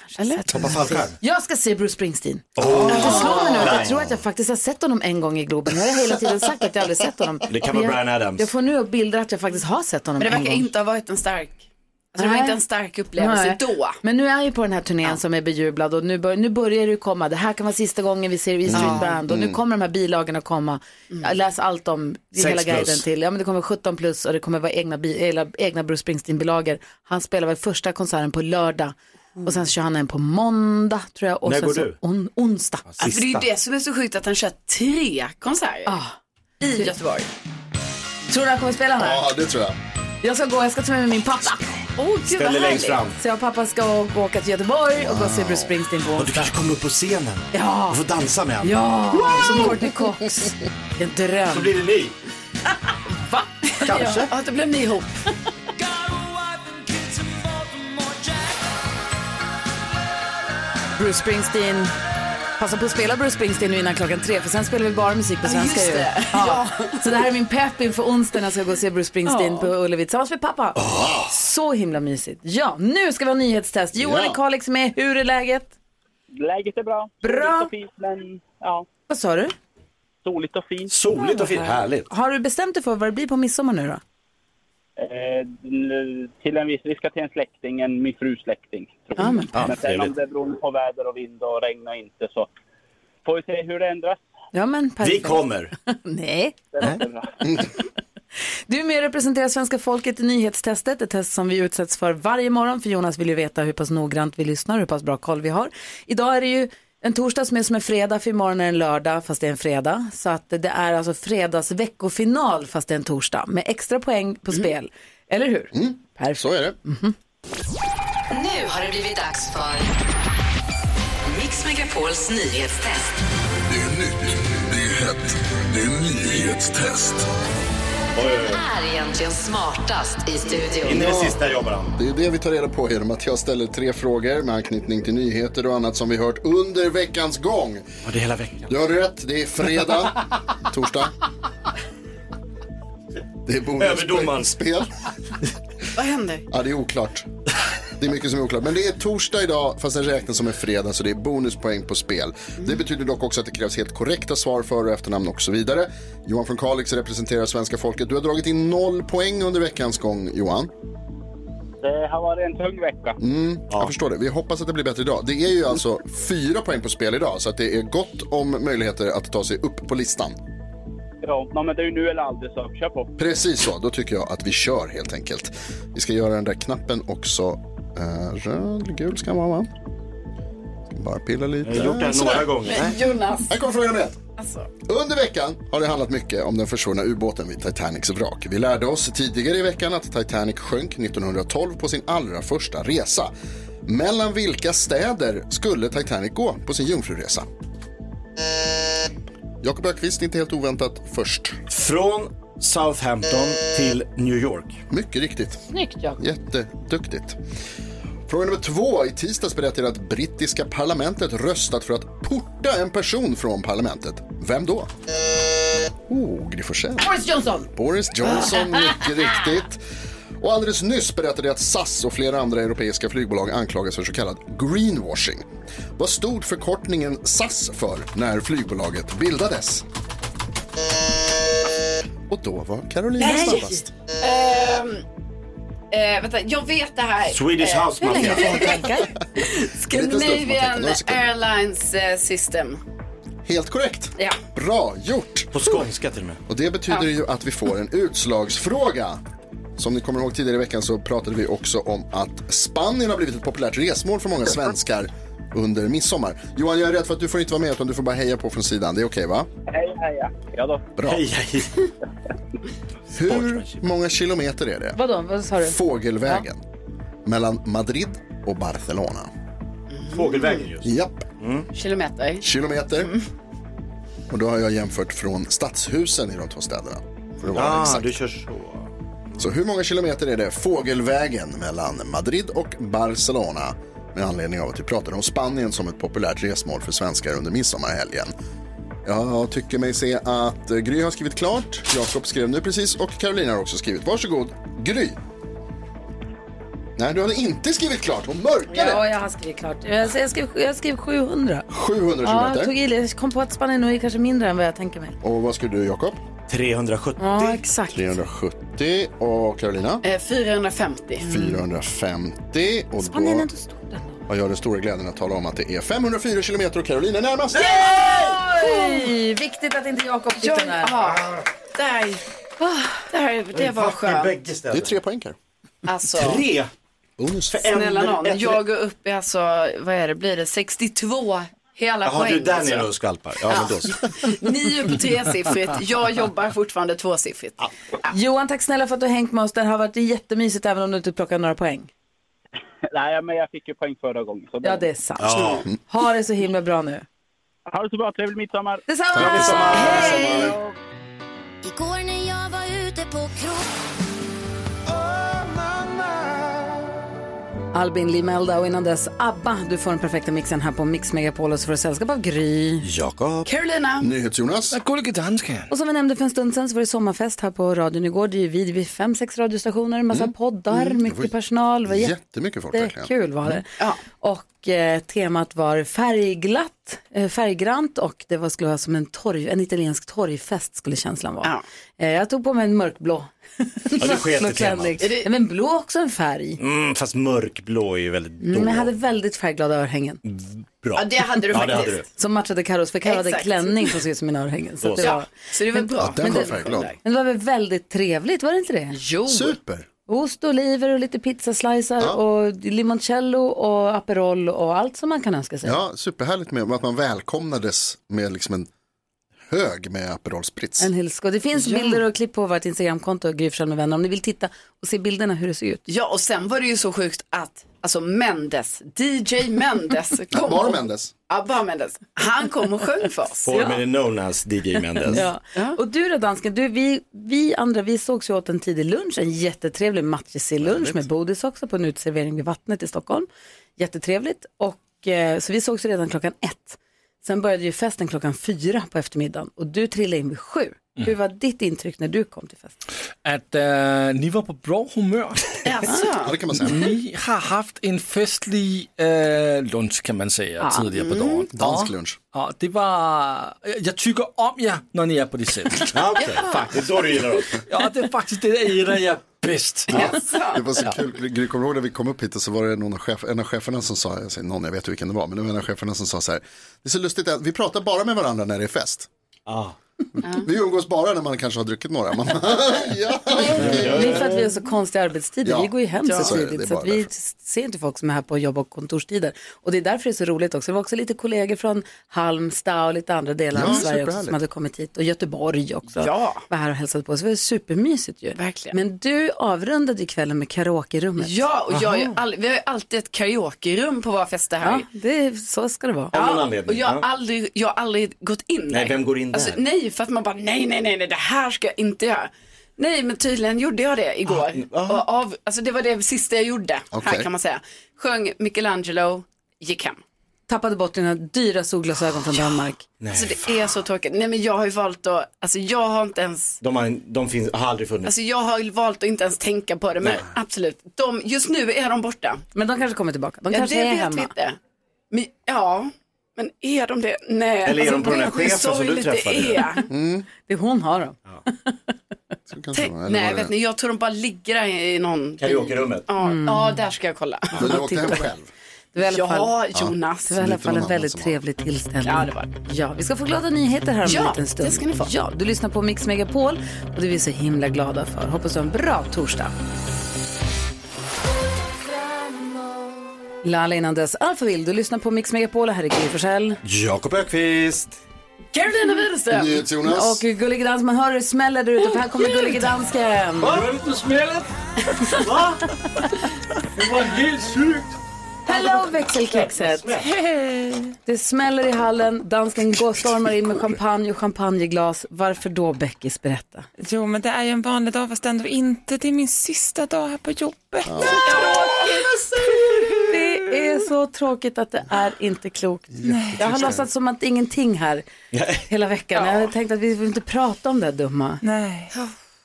Speaker 1: Kanske Eller?
Speaker 5: Hoppa fallskärm.
Speaker 1: Jag ska se Bruce Springsteen. Det slår mig nu att jag tror att jag faktiskt har sett honom en gång i Globen. Jag har hela tiden sagt att jag aldrig sett honom.
Speaker 3: Det kan
Speaker 1: Men
Speaker 3: vara
Speaker 1: jag-
Speaker 3: Bryan Adams.
Speaker 1: Jag får nu upp bilder att jag faktiskt har sett honom
Speaker 7: Men det
Speaker 1: en
Speaker 7: verkar
Speaker 1: gång.
Speaker 7: inte ha varit en stark, alltså det var
Speaker 1: Nej.
Speaker 7: inte en stark upplevelse
Speaker 1: Nej.
Speaker 7: då.
Speaker 1: Men nu är jag ju på den här turnén som är bejublad och nu, bör, nu börjar det ju komma. Det här kan vara sista gången vi ser E Street
Speaker 7: Mm.
Speaker 1: Band och nu
Speaker 7: Mm.
Speaker 1: kommer de här bilagorna komma. Jag Läs allt om i
Speaker 7: Sex
Speaker 1: hela
Speaker 7: plus.
Speaker 1: guiden till. Ja, men det kommer 17 plus och det kommer vara egna, bi, eller, egna Bruce Springsteen-bilagor. Han spelar väl första konserten på lördag och sen kör han en på måndag tror jag. Och
Speaker 7: När
Speaker 1: sen
Speaker 7: går
Speaker 1: så
Speaker 7: du?
Speaker 1: On, onsdag.
Speaker 7: Ja, för Alltså, det är ju det som är så sjukt att han kör tre konserter
Speaker 1: Ah.
Speaker 7: i Göteborg.
Speaker 1: Tror du han kommer spela här?
Speaker 5: Ja, det tror jag.
Speaker 1: Jag ska gå, jag ska ta med mig min pappa. Oh, gud,
Speaker 5: Ställ
Speaker 1: vad
Speaker 5: dig
Speaker 1: härligt.
Speaker 5: längst fram.
Speaker 1: Så jag och pappa ska å- åka till Göteborg och gå och se Bruce Springsteen på
Speaker 3: Och du kanske kommer upp på scenen.
Speaker 1: Ja.
Speaker 3: Och får dansa med honom.
Speaker 1: Ja, som Courtney Cox. En dröm.
Speaker 3: Så blir det ni.
Speaker 1: Va?
Speaker 3: Kanske.
Speaker 7: Ja, ja, då blev ni ihop.
Speaker 1: Bruce Springsteen. Passa på att spela Bruce Springsteen nu innan klockan tre för sen spelar vi bara musik på
Speaker 7: Ja,
Speaker 1: svenska
Speaker 7: just
Speaker 1: ju.
Speaker 7: det.
Speaker 1: Ja. Så det här är min pepp inför onsdag när jag ska gå och se Bruce Springsteen
Speaker 7: Ja.
Speaker 1: på Ullevi tillsammans med pappa. Så himla mysigt. Ja, nu ska vi ha nyhetstest. Johan
Speaker 21: Ja.
Speaker 1: i Kalix är med. Hur är läget?
Speaker 21: Läget är bra.
Speaker 1: Bra.
Speaker 21: Soligt och fint, men ja.
Speaker 1: Vad sa du?
Speaker 21: Soligt och fint.
Speaker 3: Soligt och fint. Härligt.
Speaker 1: Har du bestämt dig för vad det blir på midsommar nu då?
Speaker 21: Eh, till en viss, vi ska till en släkting, en min frus släkting. Tror jag.
Speaker 1: Ja, men
Speaker 21: men sen om
Speaker 1: perfekt.
Speaker 21: det beror på väder och vind och regn och inte så får vi se hur det ändras.
Speaker 1: Ja, men perfekt. Eh?
Speaker 3: kommer.
Speaker 1: Nej.
Speaker 21: Det låter bra.
Speaker 1: Du är med och representerar svenska folket i nyhetstestet, ett test som vi utsätts för varje morgon, för Jonas vill ju veta hur pass noggrant vi lyssnar och hur pass bra koll vi har. Idag är det ju En torsdag som är som en fredag, för imorgon är en lördag fast det är en fredag. Så att det är alltså fredagsveckofinal fast det är en torsdag med extra poäng på spel. Eller hur?
Speaker 5: Mm.
Speaker 1: Perfekt. Mhm.
Speaker 5: Så är det.
Speaker 2: Nu har det blivit dags för Mix Megapols nyhetstest.
Speaker 6: Det är nytt, det är hett, det är nyhetstest.
Speaker 2: Vem är egentligen smartast i studion?
Speaker 3: jobbar han.
Speaker 5: Det är det vi tar reda på genom att jag ställer tre frågor med anknytning till nyheter och annat som vi hört under veckans gång.
Speaker 3: Ja, det är hela veckan.
Speaker 5: Du har rätt, det är fredag, torsdag. Det är bonusspel.
Speaker 16: Vad händer?
Speaker 5: Ja, det är oklart. Det är mycket som är oklart. Men det är torsdag idag, fast den räknas som en fredag, så det är bonuspoäng på spel. Det betyder dock också att det krävs helt korrekta svar för och efternamn och så vidare. Johan från Kalix representerar svenska folket. Du har dragit in noll poäng under veckans gång, Johan.
Speaker 12: Det har varit en tung vecka.
Speaker 5: Mm, Jag förstår det. Vi hoppas att det blir bättre idag. Det är ju alltså fyra poäng på spel idag, så att det är gott om möjligheter att ta sig upp på listan.
Speaker 12: Ja, nej, men det är ju nu eller aldrig så kör på.
Speaker 5: Precis så, då tycker jag att vi kör helt enkelt. Vi ska göra den där knappen också. Eh, Röd eller gul ska man vara va? Ska bara pilla lite.
Speaker 3: Jag har gjort det här
Speaker 5: Sådär.
Speaker 3: några gånger.
Speaker 5: Nej.
Speaker 16: Jonas.
Speaker 5: Här kommer frågan ett.
Speaker 16: Alltså.
Speaker 5: Under veckan har det handlat mycket om den försvunna ubåten vid Titanics vrak. Vi lärde oss tidigare i veckan att Titanic sjönk 1912 på sin allra första resa. Mellan vilka städer skulle Titanic gå på sin jungfruresa? Jakob Ökvist, inte helt oväntat, först.
Speaker 3: Från Southampton till New York.
Speaker 5: Mycket riktigt.
Speaker 1: Snyggt Jakob.
Speaker 5: Jätteduktigt. Fråga nummer två. I tisdags berättade jag att brittiska parlamentet röstat för att porta en person från parlamentet. Vem då? Oh, Gry Forssell.
Speaker 1: Boris Johnson.
Speaker 5: Boris Johnson, mycket riktigt. Och alldeles nyss berättade jag att SAS och flera andra europeiska flygbolag anklagas för så kallad greenwashing. Vad stod förkortningen SAS för när flygbolaget bildades? Och då var Carolina
Speaker 16: Nej.
Speaker 5: snabbast.
Speaker 16: Ehm, eh, vänta, jag vet det här.
Speaker 5: Swedish
Speaker 16: Eh,
Speaker 5: House Mafia.
Speaker 16: hur länge-
Speaker 5: Scandinavian
Speaker 16: Scandinavian Airlines eh, System.
Speaker 5: Helt korrekt.
Speaker 16: Ja.
Speaker 5: Bra gjort!
Speaker 3: På skånska till och med.
Speaker 5: Och det betyder ju att vi får en utslagsfråga. Som ni kommer ihåg tidigare i veckan så pratade vi också om att Spanien har blivit ett populärt resmål för många svenskar under midsommar. Johan, jag är rädd för att du får inte vara med utan du får bara heja på från sidan. Det är okej va?
Speaker 12: Hej, hej, ja då.
Speaker 5: Bra. Hur många kilometer är det?
Speaker 1: Vadå, vad sa du?
Speaker 5: Fågelvägen. Mellan Madrid och Barcelona.
Speaker 3: Fågelvägen just. Mm.
Speaker 5: Japp.
Speaker 16: Kilometer.
Speaker 5: kilometer. Och då har jag jämfört från stadshusen i de två städerna. För att vara
Speaker 3: Ah,
Speaker 5: exakt.
Speaker 3: du kör så.
Speaker 5: Så hur många kilometer är det fågelvägen mellan Madrid och Barcelona? Med anledning av att vi pratade om Spanien som ett populärt resmål för svenskar under midsommarhelgen. Jag tycker mig se att eh, Gry har skrivit klart, Jakob skrev nu precis och Carolina har också skrivit. Varsågod, Gry! Nej, du hade inte skrivit klart, hon mörkade!
Speaker 1: Ja, jag har skrivit klart. Jag jag skrev, jag skrev 700.
Speaker 5: 700
Speaker 1: Ja, jag
Speaker 5: kilometer.
Speaker 1: tog i, jag kom på att Spanien nog är kanske mindre än vad jag tänker mig.
Speaker 5: Och vad skulle du, Jakob?
Speaker 3: 370.
Speaker 1: Ja, exakt.
Speaker 5: 370 och Carolina?
Speaker 16: Eh, 450.
Speaker 5: 450. Och
Speaker 16: Spanien är
Speaker 5: då
Speaker 16: inte stor.
Speaker 5: har jag den stora glädjen att tala om att det är 504 kilometer och Carolina är närmast.
Speaker 1: Oj, viktigt att inte Jakob fick den här.
Speaker 16: Där.
Speaker 7: Ah,
Speaker 16: Där, det var skönt.
Speaker 5: Det är tre poäng här.
Speaker 16: Alltså,
Speaker 5: Bonus.
Speaker 16: snälla nån. Jag går upp i alltså, vad är det, blir det 62 hela
Speaker 3: Jaha,
Speaker 16: poäng?
Speaker 3: du är där
Speaker 16: alltså.
Speaker 3: nere och skvalpar. Ja, men då så.
Speaker 16: Ni är på tresiffrigt, jag jobbar fortfarande tvåsiffrigt.
Speaker 1: Johan, tack snälla för att du har hängt med oss. Det har varit jättemysigt även om du inte plockar några poäng.
Speaker 12: Nej, men jag fick ju poäng förra gången. Så
Speaker 1: Ja, det är sant.
Speaker 12: Ja.
Speaker 1: Ha det så himla bra nu.
Speaker 12: Ha det så bra, trevlig midsommar.
Speaker 1: Detsamma! Trevlig midsommar. Hej!
Speaker 14: Igår när jag var ute på krog
Speaker 1: Albin Limelda och innan dess ABBA. Du får den perfekta mixen här på Mix Megapol och så får du sällskap av Gry.
Speaker 5: Jakob.
Speaker 16: Carolina.
Speaker 5: NyhetsJonas.
Speaker 13: Gullige dansken.
Speaker 1: Och som vi nämnde för en stund sedan så var det sommarfest här på radion igår. Det är ju vid, vid fem, sex radiostationer, en massa poddar, mycket personal. Det var
Speaker 5: Jättemycket folk verkligen. Mm.
Speaker 1: jättekul var det. Och eh, temat var färgglatt, eh, färggrant och det var, skulle vara som en, torg, en italiensk torgfest skulle känslan vara. Eh, jag tog på mig en mörkblå.
Speaker 3: Ja, det sket
Speaker 1: Blå
Speaker 3: i temat.
Speaker 1: klänning. Nej, Men blå är också en färg.
Speaker 3: Mm, fast mörkblå är ju väldigt
Speaker 1: Mm, Men jag
Speaker 3: dåligt.
Speaker 1: hade väldigt färgglada örhängen.
Speaker 3: Bra. ja, det hade du.
Speaker 1: Som matchade Carros, för Carro hade en
Speaker 16: Exakt.
Speaker 1: klänning som såg ut som mina örhängen. Så,
Speaker 3: Då
Speaker 1: att det
Speaker 3: så.
Speaker 1: var...
Speaker 16: Så det var bra.
Speaker 5: Ja, den var färgglad.
Speaker 1: Men det var väl väldigt trevligt, var det inte det?
Speaker 16: Jo.
Speaker 5: Super.
Speaker 1: Ost och oliver och lite pizzaslicer
Speaker 5: Ja.
Speaker 1: och limoncello och Aperol och allt som man kan önska sig.
Speaker 5: Ja, superhärligt med att man välkomnades med liksom en hög med Aperol Spritz.
Speaker 1: En hilsko. Det finns
Speaker 5: Ja.
Speaker 1: bilder och klipp på vårt Instagramkonto, Gry Forssell med vänner, om ni vill titta och se bilderna hur det ser ut.
Speaker 7: Ja, och sen var det ju så sjukt att alltså Mendes, DJ Mendes. Kom
Speaker 1: Ja, bara
Speaker 7: och-
Speaker 5: Mendes.
Speaker 7: Ja, bara Mendes. Han kom och sjöng för oss.
Speaker 3: Formerly known as DJ Mendes.
Speaker 1: Ja. Och du då dansken, du, vi, vi andra vi sågs ju åt en tidig lunch, en jättetrevlig matjesillunch med Bodis också på en uteservering vid vattnet i Stockholm. Jättetrevligt. Och, eh, så vi sågs ju redan klockan ett. Sen började ju festen klockan fyra på eftermiddagen och du trillade in vid sju. Hur var ditt intryck när du kom till festen?
Speaker 4: Att eh, ni var på bra humör.
Speaker 5: Ja, det kan man säga.
Speaker 4: Ni har haft en festlig eh, lunch kan man säga
Speaker 5: Ja.
Speaker 4: tidigare på
Speaker 5: Mm.
Speaker 4: dagen.
Speaker 5: Dansk
Speaker 4: Ja.
Speaker 5: lunch.
Speaker 4: Ja, det var... eh, Jag tycker om er när ni är på det sättet.
Speaker 3: Ja, okej. Det är då du gillar oss.
Speaker 4: Ja, det är faktiskt det jag gillar er bäst.
Speaker 5: Det var så kul, Gry, kommer du ihåg när vi kom upp hit och så var det någon av chef, en av cheferna som sa, jag säger någon, jag vet vilken det var, men det var en av cheferna som sa så här, det är så lustigt att vi pratar bara med varandra när det är fest. Vi umgås bara när man kanske har druckit några. Man,
Speaker 1: Det är för att vi har så konstiga arbetstider.
Speaker 5: Ja.
Speaker 1: Vi går ju hem
Speaker 5: Ja.
Speaker 1: så
Speaker 5: Så är det. Det
Speaker 1: tidigt
Speaker 5: är
Speaker 1: så
Speaker 5: bara
Speaker 1: att vi ser inte folk som är här på jobb och kontorstider. Och det är därför det är så roligt också. Det var också lite kollegor från Halmstad och lite andra delar
Speaker 7: Ja,
Speaker 1: av Sverige också,
Speaker 7: superhärligt.
Speaker 1: som hade kommit hit. Och Göteborg också
Speaker 7: Ja.
Speaker 1: var här och hälsade på oss. Det var supermysigt ju. Verkligen. Men du avrundade ju kvällen med karaokerummet.
Speaker 7: Ja, och jag är ju
Speaker 1: Aha.
Speaker 7: all, vi har ju alltid ett karaokerum på våra fester här.
Speaker 1: Ja, det, är- så ska det vara.
Speaker 7: Ja,
Speaker 3: någon anledning,
Speaker 7: och jag har,
Speaker 3: ja.
Speaker 7: aldrig, jag har aldrig gått in där.
Speaker 3: Nej, vem går in där?
Speaker 7: Alltså, nej, för att man bara nej, nej, nej, nej, det här ska jag inte göra. Nej, men tydligen gjorde jag det igår.
Speaker 3: Ah,
Speaker 7: Och av, alltså, det var det sista jag gjorde, här
Speaker 1: Okej.
Speaker 7: kan man säga. Sjöng Michelangelo, gick hem.
Speaker 1: Tappade bort dina dyra solglasögon från Danmark.
Speaker 3: Nej.
Speaker 7: Alltså, det är så tråkigt. Nej, men jag har ju valt att, alltså jag har inte ens
Speaker 3: De, har, de finns, har aldrig funnits.
Speaker 7: Alltså jag har ju valt att inte ens tänka på det, men
Speaker 3: Nej.
Speaker 7: absolut. De, just nu är de borta.
Speaker 1: Men de kanske kommer tillbaka. De kanske
Speaker 7: det
Speaker 1: är
Speaker 7: vet
Speaker 1: hemma.
Speaker 7: Vi inte. Men, ja, men är de det? Nej.
Speaker 1: Eller är de på den här
Speaker 7: vet ni hur
Speaker 1: chefen som du
Speaker 7: sorgligt alltså, det
Speaker 1: träffade?
Speaker 7: är?
Speaker 1: Mm. Det är hon har dem.
Speaker 5: kanske, eller var
Speaker 7: Nej,
Speaker 5: det-
Speaker 7: vet ni, jag tror de bara ligger där i någon...
Speaker 5: Karaokerummet.
Speaker 7: Ja, ja, där ska jag kolla.
Speaker 5: Men du åkte hem själv?
Speaker 1: Det var Mm. i alla
Speaker 7: Ja,
Speaker 1: fall,
Speaker 7: Jonas.
Speaker 1: Det var i alla
Speaker 7: Lite
Speaker 1: fall
Speaker 7: någon
Speaker 1: en
Speaker 7: annan
Speaker 1: väldigt
Speaker 7: som har.
Speaker 1: trevlig tillställning.
Speaker 7: Ja, det var
Speaker 1: Ja, vi ska få glada nyheter här om
Speaker 7: Ja,
Speaker 1: en liten stund.
Speaker 7: det ska ni få.
Speaker 1: Ja, du lyssnar på Mix Megapol och det är vi så himla glada för. Hoppas du har en bra torsdag. Lala innan dess, Alphaville, du lyssnar på Mix Megapol och här är Gry Forssell.
Speaker 3: Jakob Ökvist.
Speaker 1: Carolina Widerström.
Speaker 3: NyhetsJonas.
Speaker 1: Och Gullige Dansken, man hör hur det smäller där ute för här kommer
Speaker 10: Gud.
Speaker 1: Gullige Dansken.
Speaker 10: Hörde du smället? Va? Det var helt sjukt.
Speaker 1: Hello växelkexet! Hej. Det smäller i hallen, dansken går stormar in med champagne och champagneglas. Varför då Beckis? Berätta.
Speaker 8: Jo, men det är ju en vanlig dag fast ändå inte. Det är min sista dag här på jobbet.
Speaker 1: Det är så tråkigt att det är inte klokt. Jag har låtsats som att ingenting här hela veckan. Jag har tänkt att vi vill inte prata om det här dumma.
Speaker 8: Nej,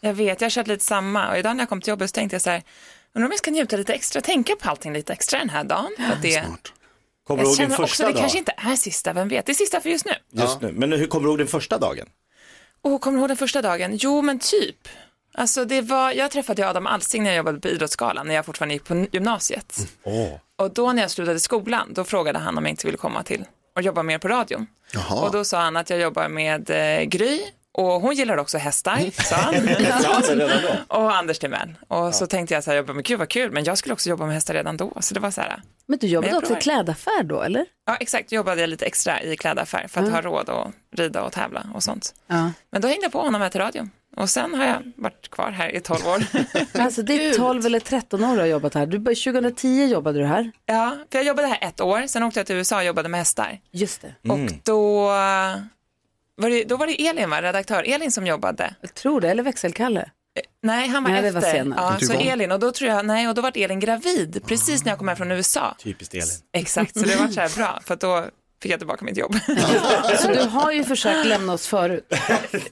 Speaker 8: jag vet. Jag har känt lite samma. Och idag när jag kom till jobbet så tänkte jag så här, undrar om jag ska njuta lite extra, tänka på allting lite extra den här dagen. För att det,
Speaker 3: Kommer du ihåg din
Speaker 8: jag känner
Speaker 3: första
Speaker 8: också, det
Speaker 3: dag?
Speaker 8: kanske inte är sista, vem vet. Det är sista för just nu.
Speaker 3: Just nu. Men hur kommer du ihåg den första dagen?
Speaker 8: Och kommer du ihåg den första dagen? Jo, men typ. Alltså det var, jag träffade ju Adam Alsing när jag jobbade på Idrottsgalan, när jag fortfarande gick på gymnasiet.
Speaker 3: Mm.
Speaker 9: 哦
Speaker 10: Åh.
Speaker 8: Och då när jag slutade skolan, då frågade han om jag inte ville komma till och jobba mer på radion. Och då sa han att jag jobbar med eh, Gry och hon gillar också hästar, sa han.
Speaker 10: Ja, men redan
Speaker 8: och Anders Timell. Och så tänkte jag så här, jag bara, men gud vad kul, men jag skulle också jobba med hästar redan då. Så det var så här,
Speaker 1: Men du jobbade
Speaker 8: Men jag
Speaker 1: också i
Speaker 8: provar.
Speaker 1: klädaffär då, eller?
Speaker 8: ja exakt, då jobbade jag lite extra i klädaffär för att
Speaker 1: Mm.
Speaker 8: ha råd att rida och tävla och sånt.
Speaker 1: Ja.
Speaker 8: Men då hängde jag på honom här till radion. Och sen har jag varit kvar här i 12 år.
Speaker 1: Alltså det är 12 eller 13 år du har jobbat här. Du började 2010 jobbade du här.
Speaker 8: Ja, för jag jobbade här ett år, sen åkte jag till USA och jobbade med hästar.
Speaker 1: Just det.
Speaker 8: Och då eh, var det, då var det Elin, va? redaktör Elin som jobbade.
Speaker 1: Jag tror det, eller växelkalle.
Speaker 8: Eh, Nej, han var
Speaker 1: Nej, det var
Speaker 8: efter.
Speaker 1: senare.
Speaker 8: ja,
Speaker 1: Inte
Speaker 8: så
Speaker 1: igång.
Speaker 8: Elin, och då tror jag, nej, och då var Elin gravid precis när jag kom hem från USA.
Speaker 3: Typiskt Elin.
Speaker 8: Exakt, så det var så här bra, för att då fick jag tillbaka mitt jobb.
Speaker 1: Så du har ju försökt lämna oss förut.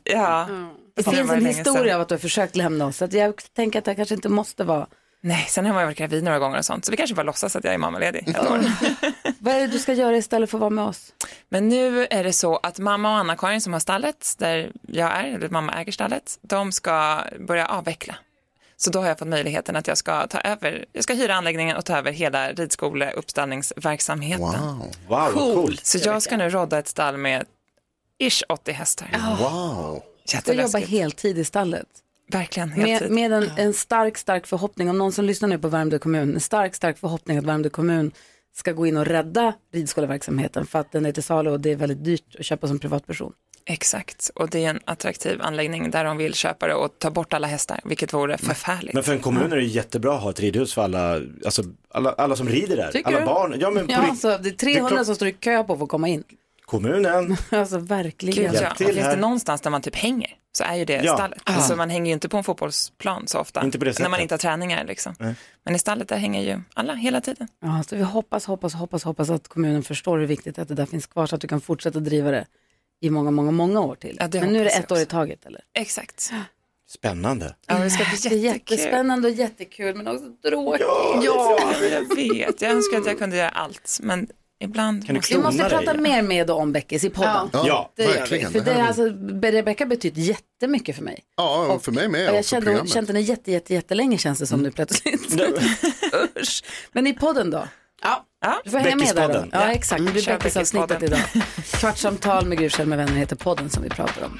Speaker 8: ja.
Speaker 1: Det
Speaker 8: var
Speaker 1: finns en
Speaker 8: länge
Speaker 1: historia
Speaker 8: sedan.
Speaker 1: av att du har försökt lämna oss. Så att jag tänker att det kanske inte måste vara.
Speaker 8: Nej, sen har jag varit gravid några gånger och sånt, så vi kanske bara låtsas att jag är mammaledig ett år.
Speaker 1: Vad är det du ska göra istället för att vara med oss?
Speaker 8: Men nu är det så att mamma och Anna-Karin som har stallet, där jag är, eller mamma äger stallet, de ska börja avveckla. Så då har jag fått möjligheten att jag ska ta över, jag ska hyra anläggningen och ta över hela ridskoleuppställningsverksamheten.
Speaker 5: Wow,
Speaker 3: vad coolt.
Speaker 8: Så jag ska nu rodda ett stall med ish 80 hästar.
Speaker 5: Wow.
Speaker 1: Du ska jobba
Speaker 8: Jätteläskigt.
Speaker 1: heltid i stallet.
Speaker 8: Verkligen, helt
Speaker 1: Med,
Speaker 8: rätt.
Speaker 1: med en, en stark, stark förhoppning, om någon som lyssnar nu på Värmdö kommun, en stark, stark förhoppning att Värmdö kommun ska gå in och rädda ridskoleverksamheten för att den är till salu och det är väldigt dyrt att köpa som privatperson.
Speaker 8: Exakt, och det är en attraktiv anläggning där de vill köpa det och ta bort alla hästar, vilket vore förfärligt.
Speaker 3: Men för en kommun är det jättebra att ha ett ridhus för alla, alltså, alla, alla som rider där.
Speaker 1: Tycker
Speaker 3: alla
Speaker 1: du?
Speaker 3: barn. Ja, men på
Speaker 1: Ja,
Speaker 3: rikt-
Speaker 1: så det är 300
Speaker 3: klart-
Speaker 1: som står i kö på för att komma in.
Speaker 3: Kommunen.
Speaker 1: Alltså verkligen.
Speaker 8: Gud, ja. Och finns det någonstans där man typ hänger så är ju det
Speaker 3: Ja.
Speaker 8: stallet.
Speaker 3: Ja.
Speaker 8: Alltså man hänger ju inte på en fotbollsplan så ofta.
Speaker 3: Inte på det
Speaker 8: när
Speaker 3: sättet.
Speaker 8: man inte har träningar liksom.
Speaker 3: Nej.
Speaker 8: Men i stallet där hänger ju alla hela tiden.
Speaker 1: Ja, så vi hoppas, hoppas, hoppas, hoppas att kommunen förstår hur viktigt att det där finns kvar så att du kan fortsätta driva det i många, många, många år till.
Speaker 8: det
Speaker 1: Men nu är det
Speaker 8: hoppas
Speaker 1: ett år i taget eller?
Speaker 8: Exakt.
Speaker 3: Spännande.
Speaker 8: Ja, det ska bli
Speaker 1: Det är jättespännande och jättekul men också tråkigt.
Speaker 8: Ja, jag vet. Jag önskar att jag kunde göra allt, men ibland
Speaker 1: Kan du Vi måste prata mer med och om Beckis i podden.
Speaker 8: Ja. Ja,
Speaker 1: det gör
Speaker 8: verkligen.
Speaker 1: vi.
Speaker 8: Det
Speaker 1: För det
Speaker 8: här
Speaker 1: har
Speaker 8: är-
Speaker 1: alltså, Rebecca betytt jättemycket för mig.
Speaker 5: Ja, och för mig med.
Speaker 1: Och jag
Speaker 5: och för
Speaker 1: kände,
Speaker 5: programmet.
Speaker 1: känt henne jätte, jätte, jättelänge känns det som
Speaker 8: Mm.
Speaker 1: nu plötsligt. Usch. Men i podden då?
Speaker 16: Ja.
Speaker 1: Du får hänga med där då.
Speaker 16: Beckispodden.
Speaker 1: Ja,
Speaker 16: Ja.
Speaker 1: exakt. Det
Speaker 16: Mm,
Speaker 1: blir
Speaker 16: kör
Speaker 1: Beckisavsnittet idag.
Speaker 16: Beckispodden.
Speaker 1: Kvartsamtal med Gry Forssell med vänner heter podden som vi pratar om.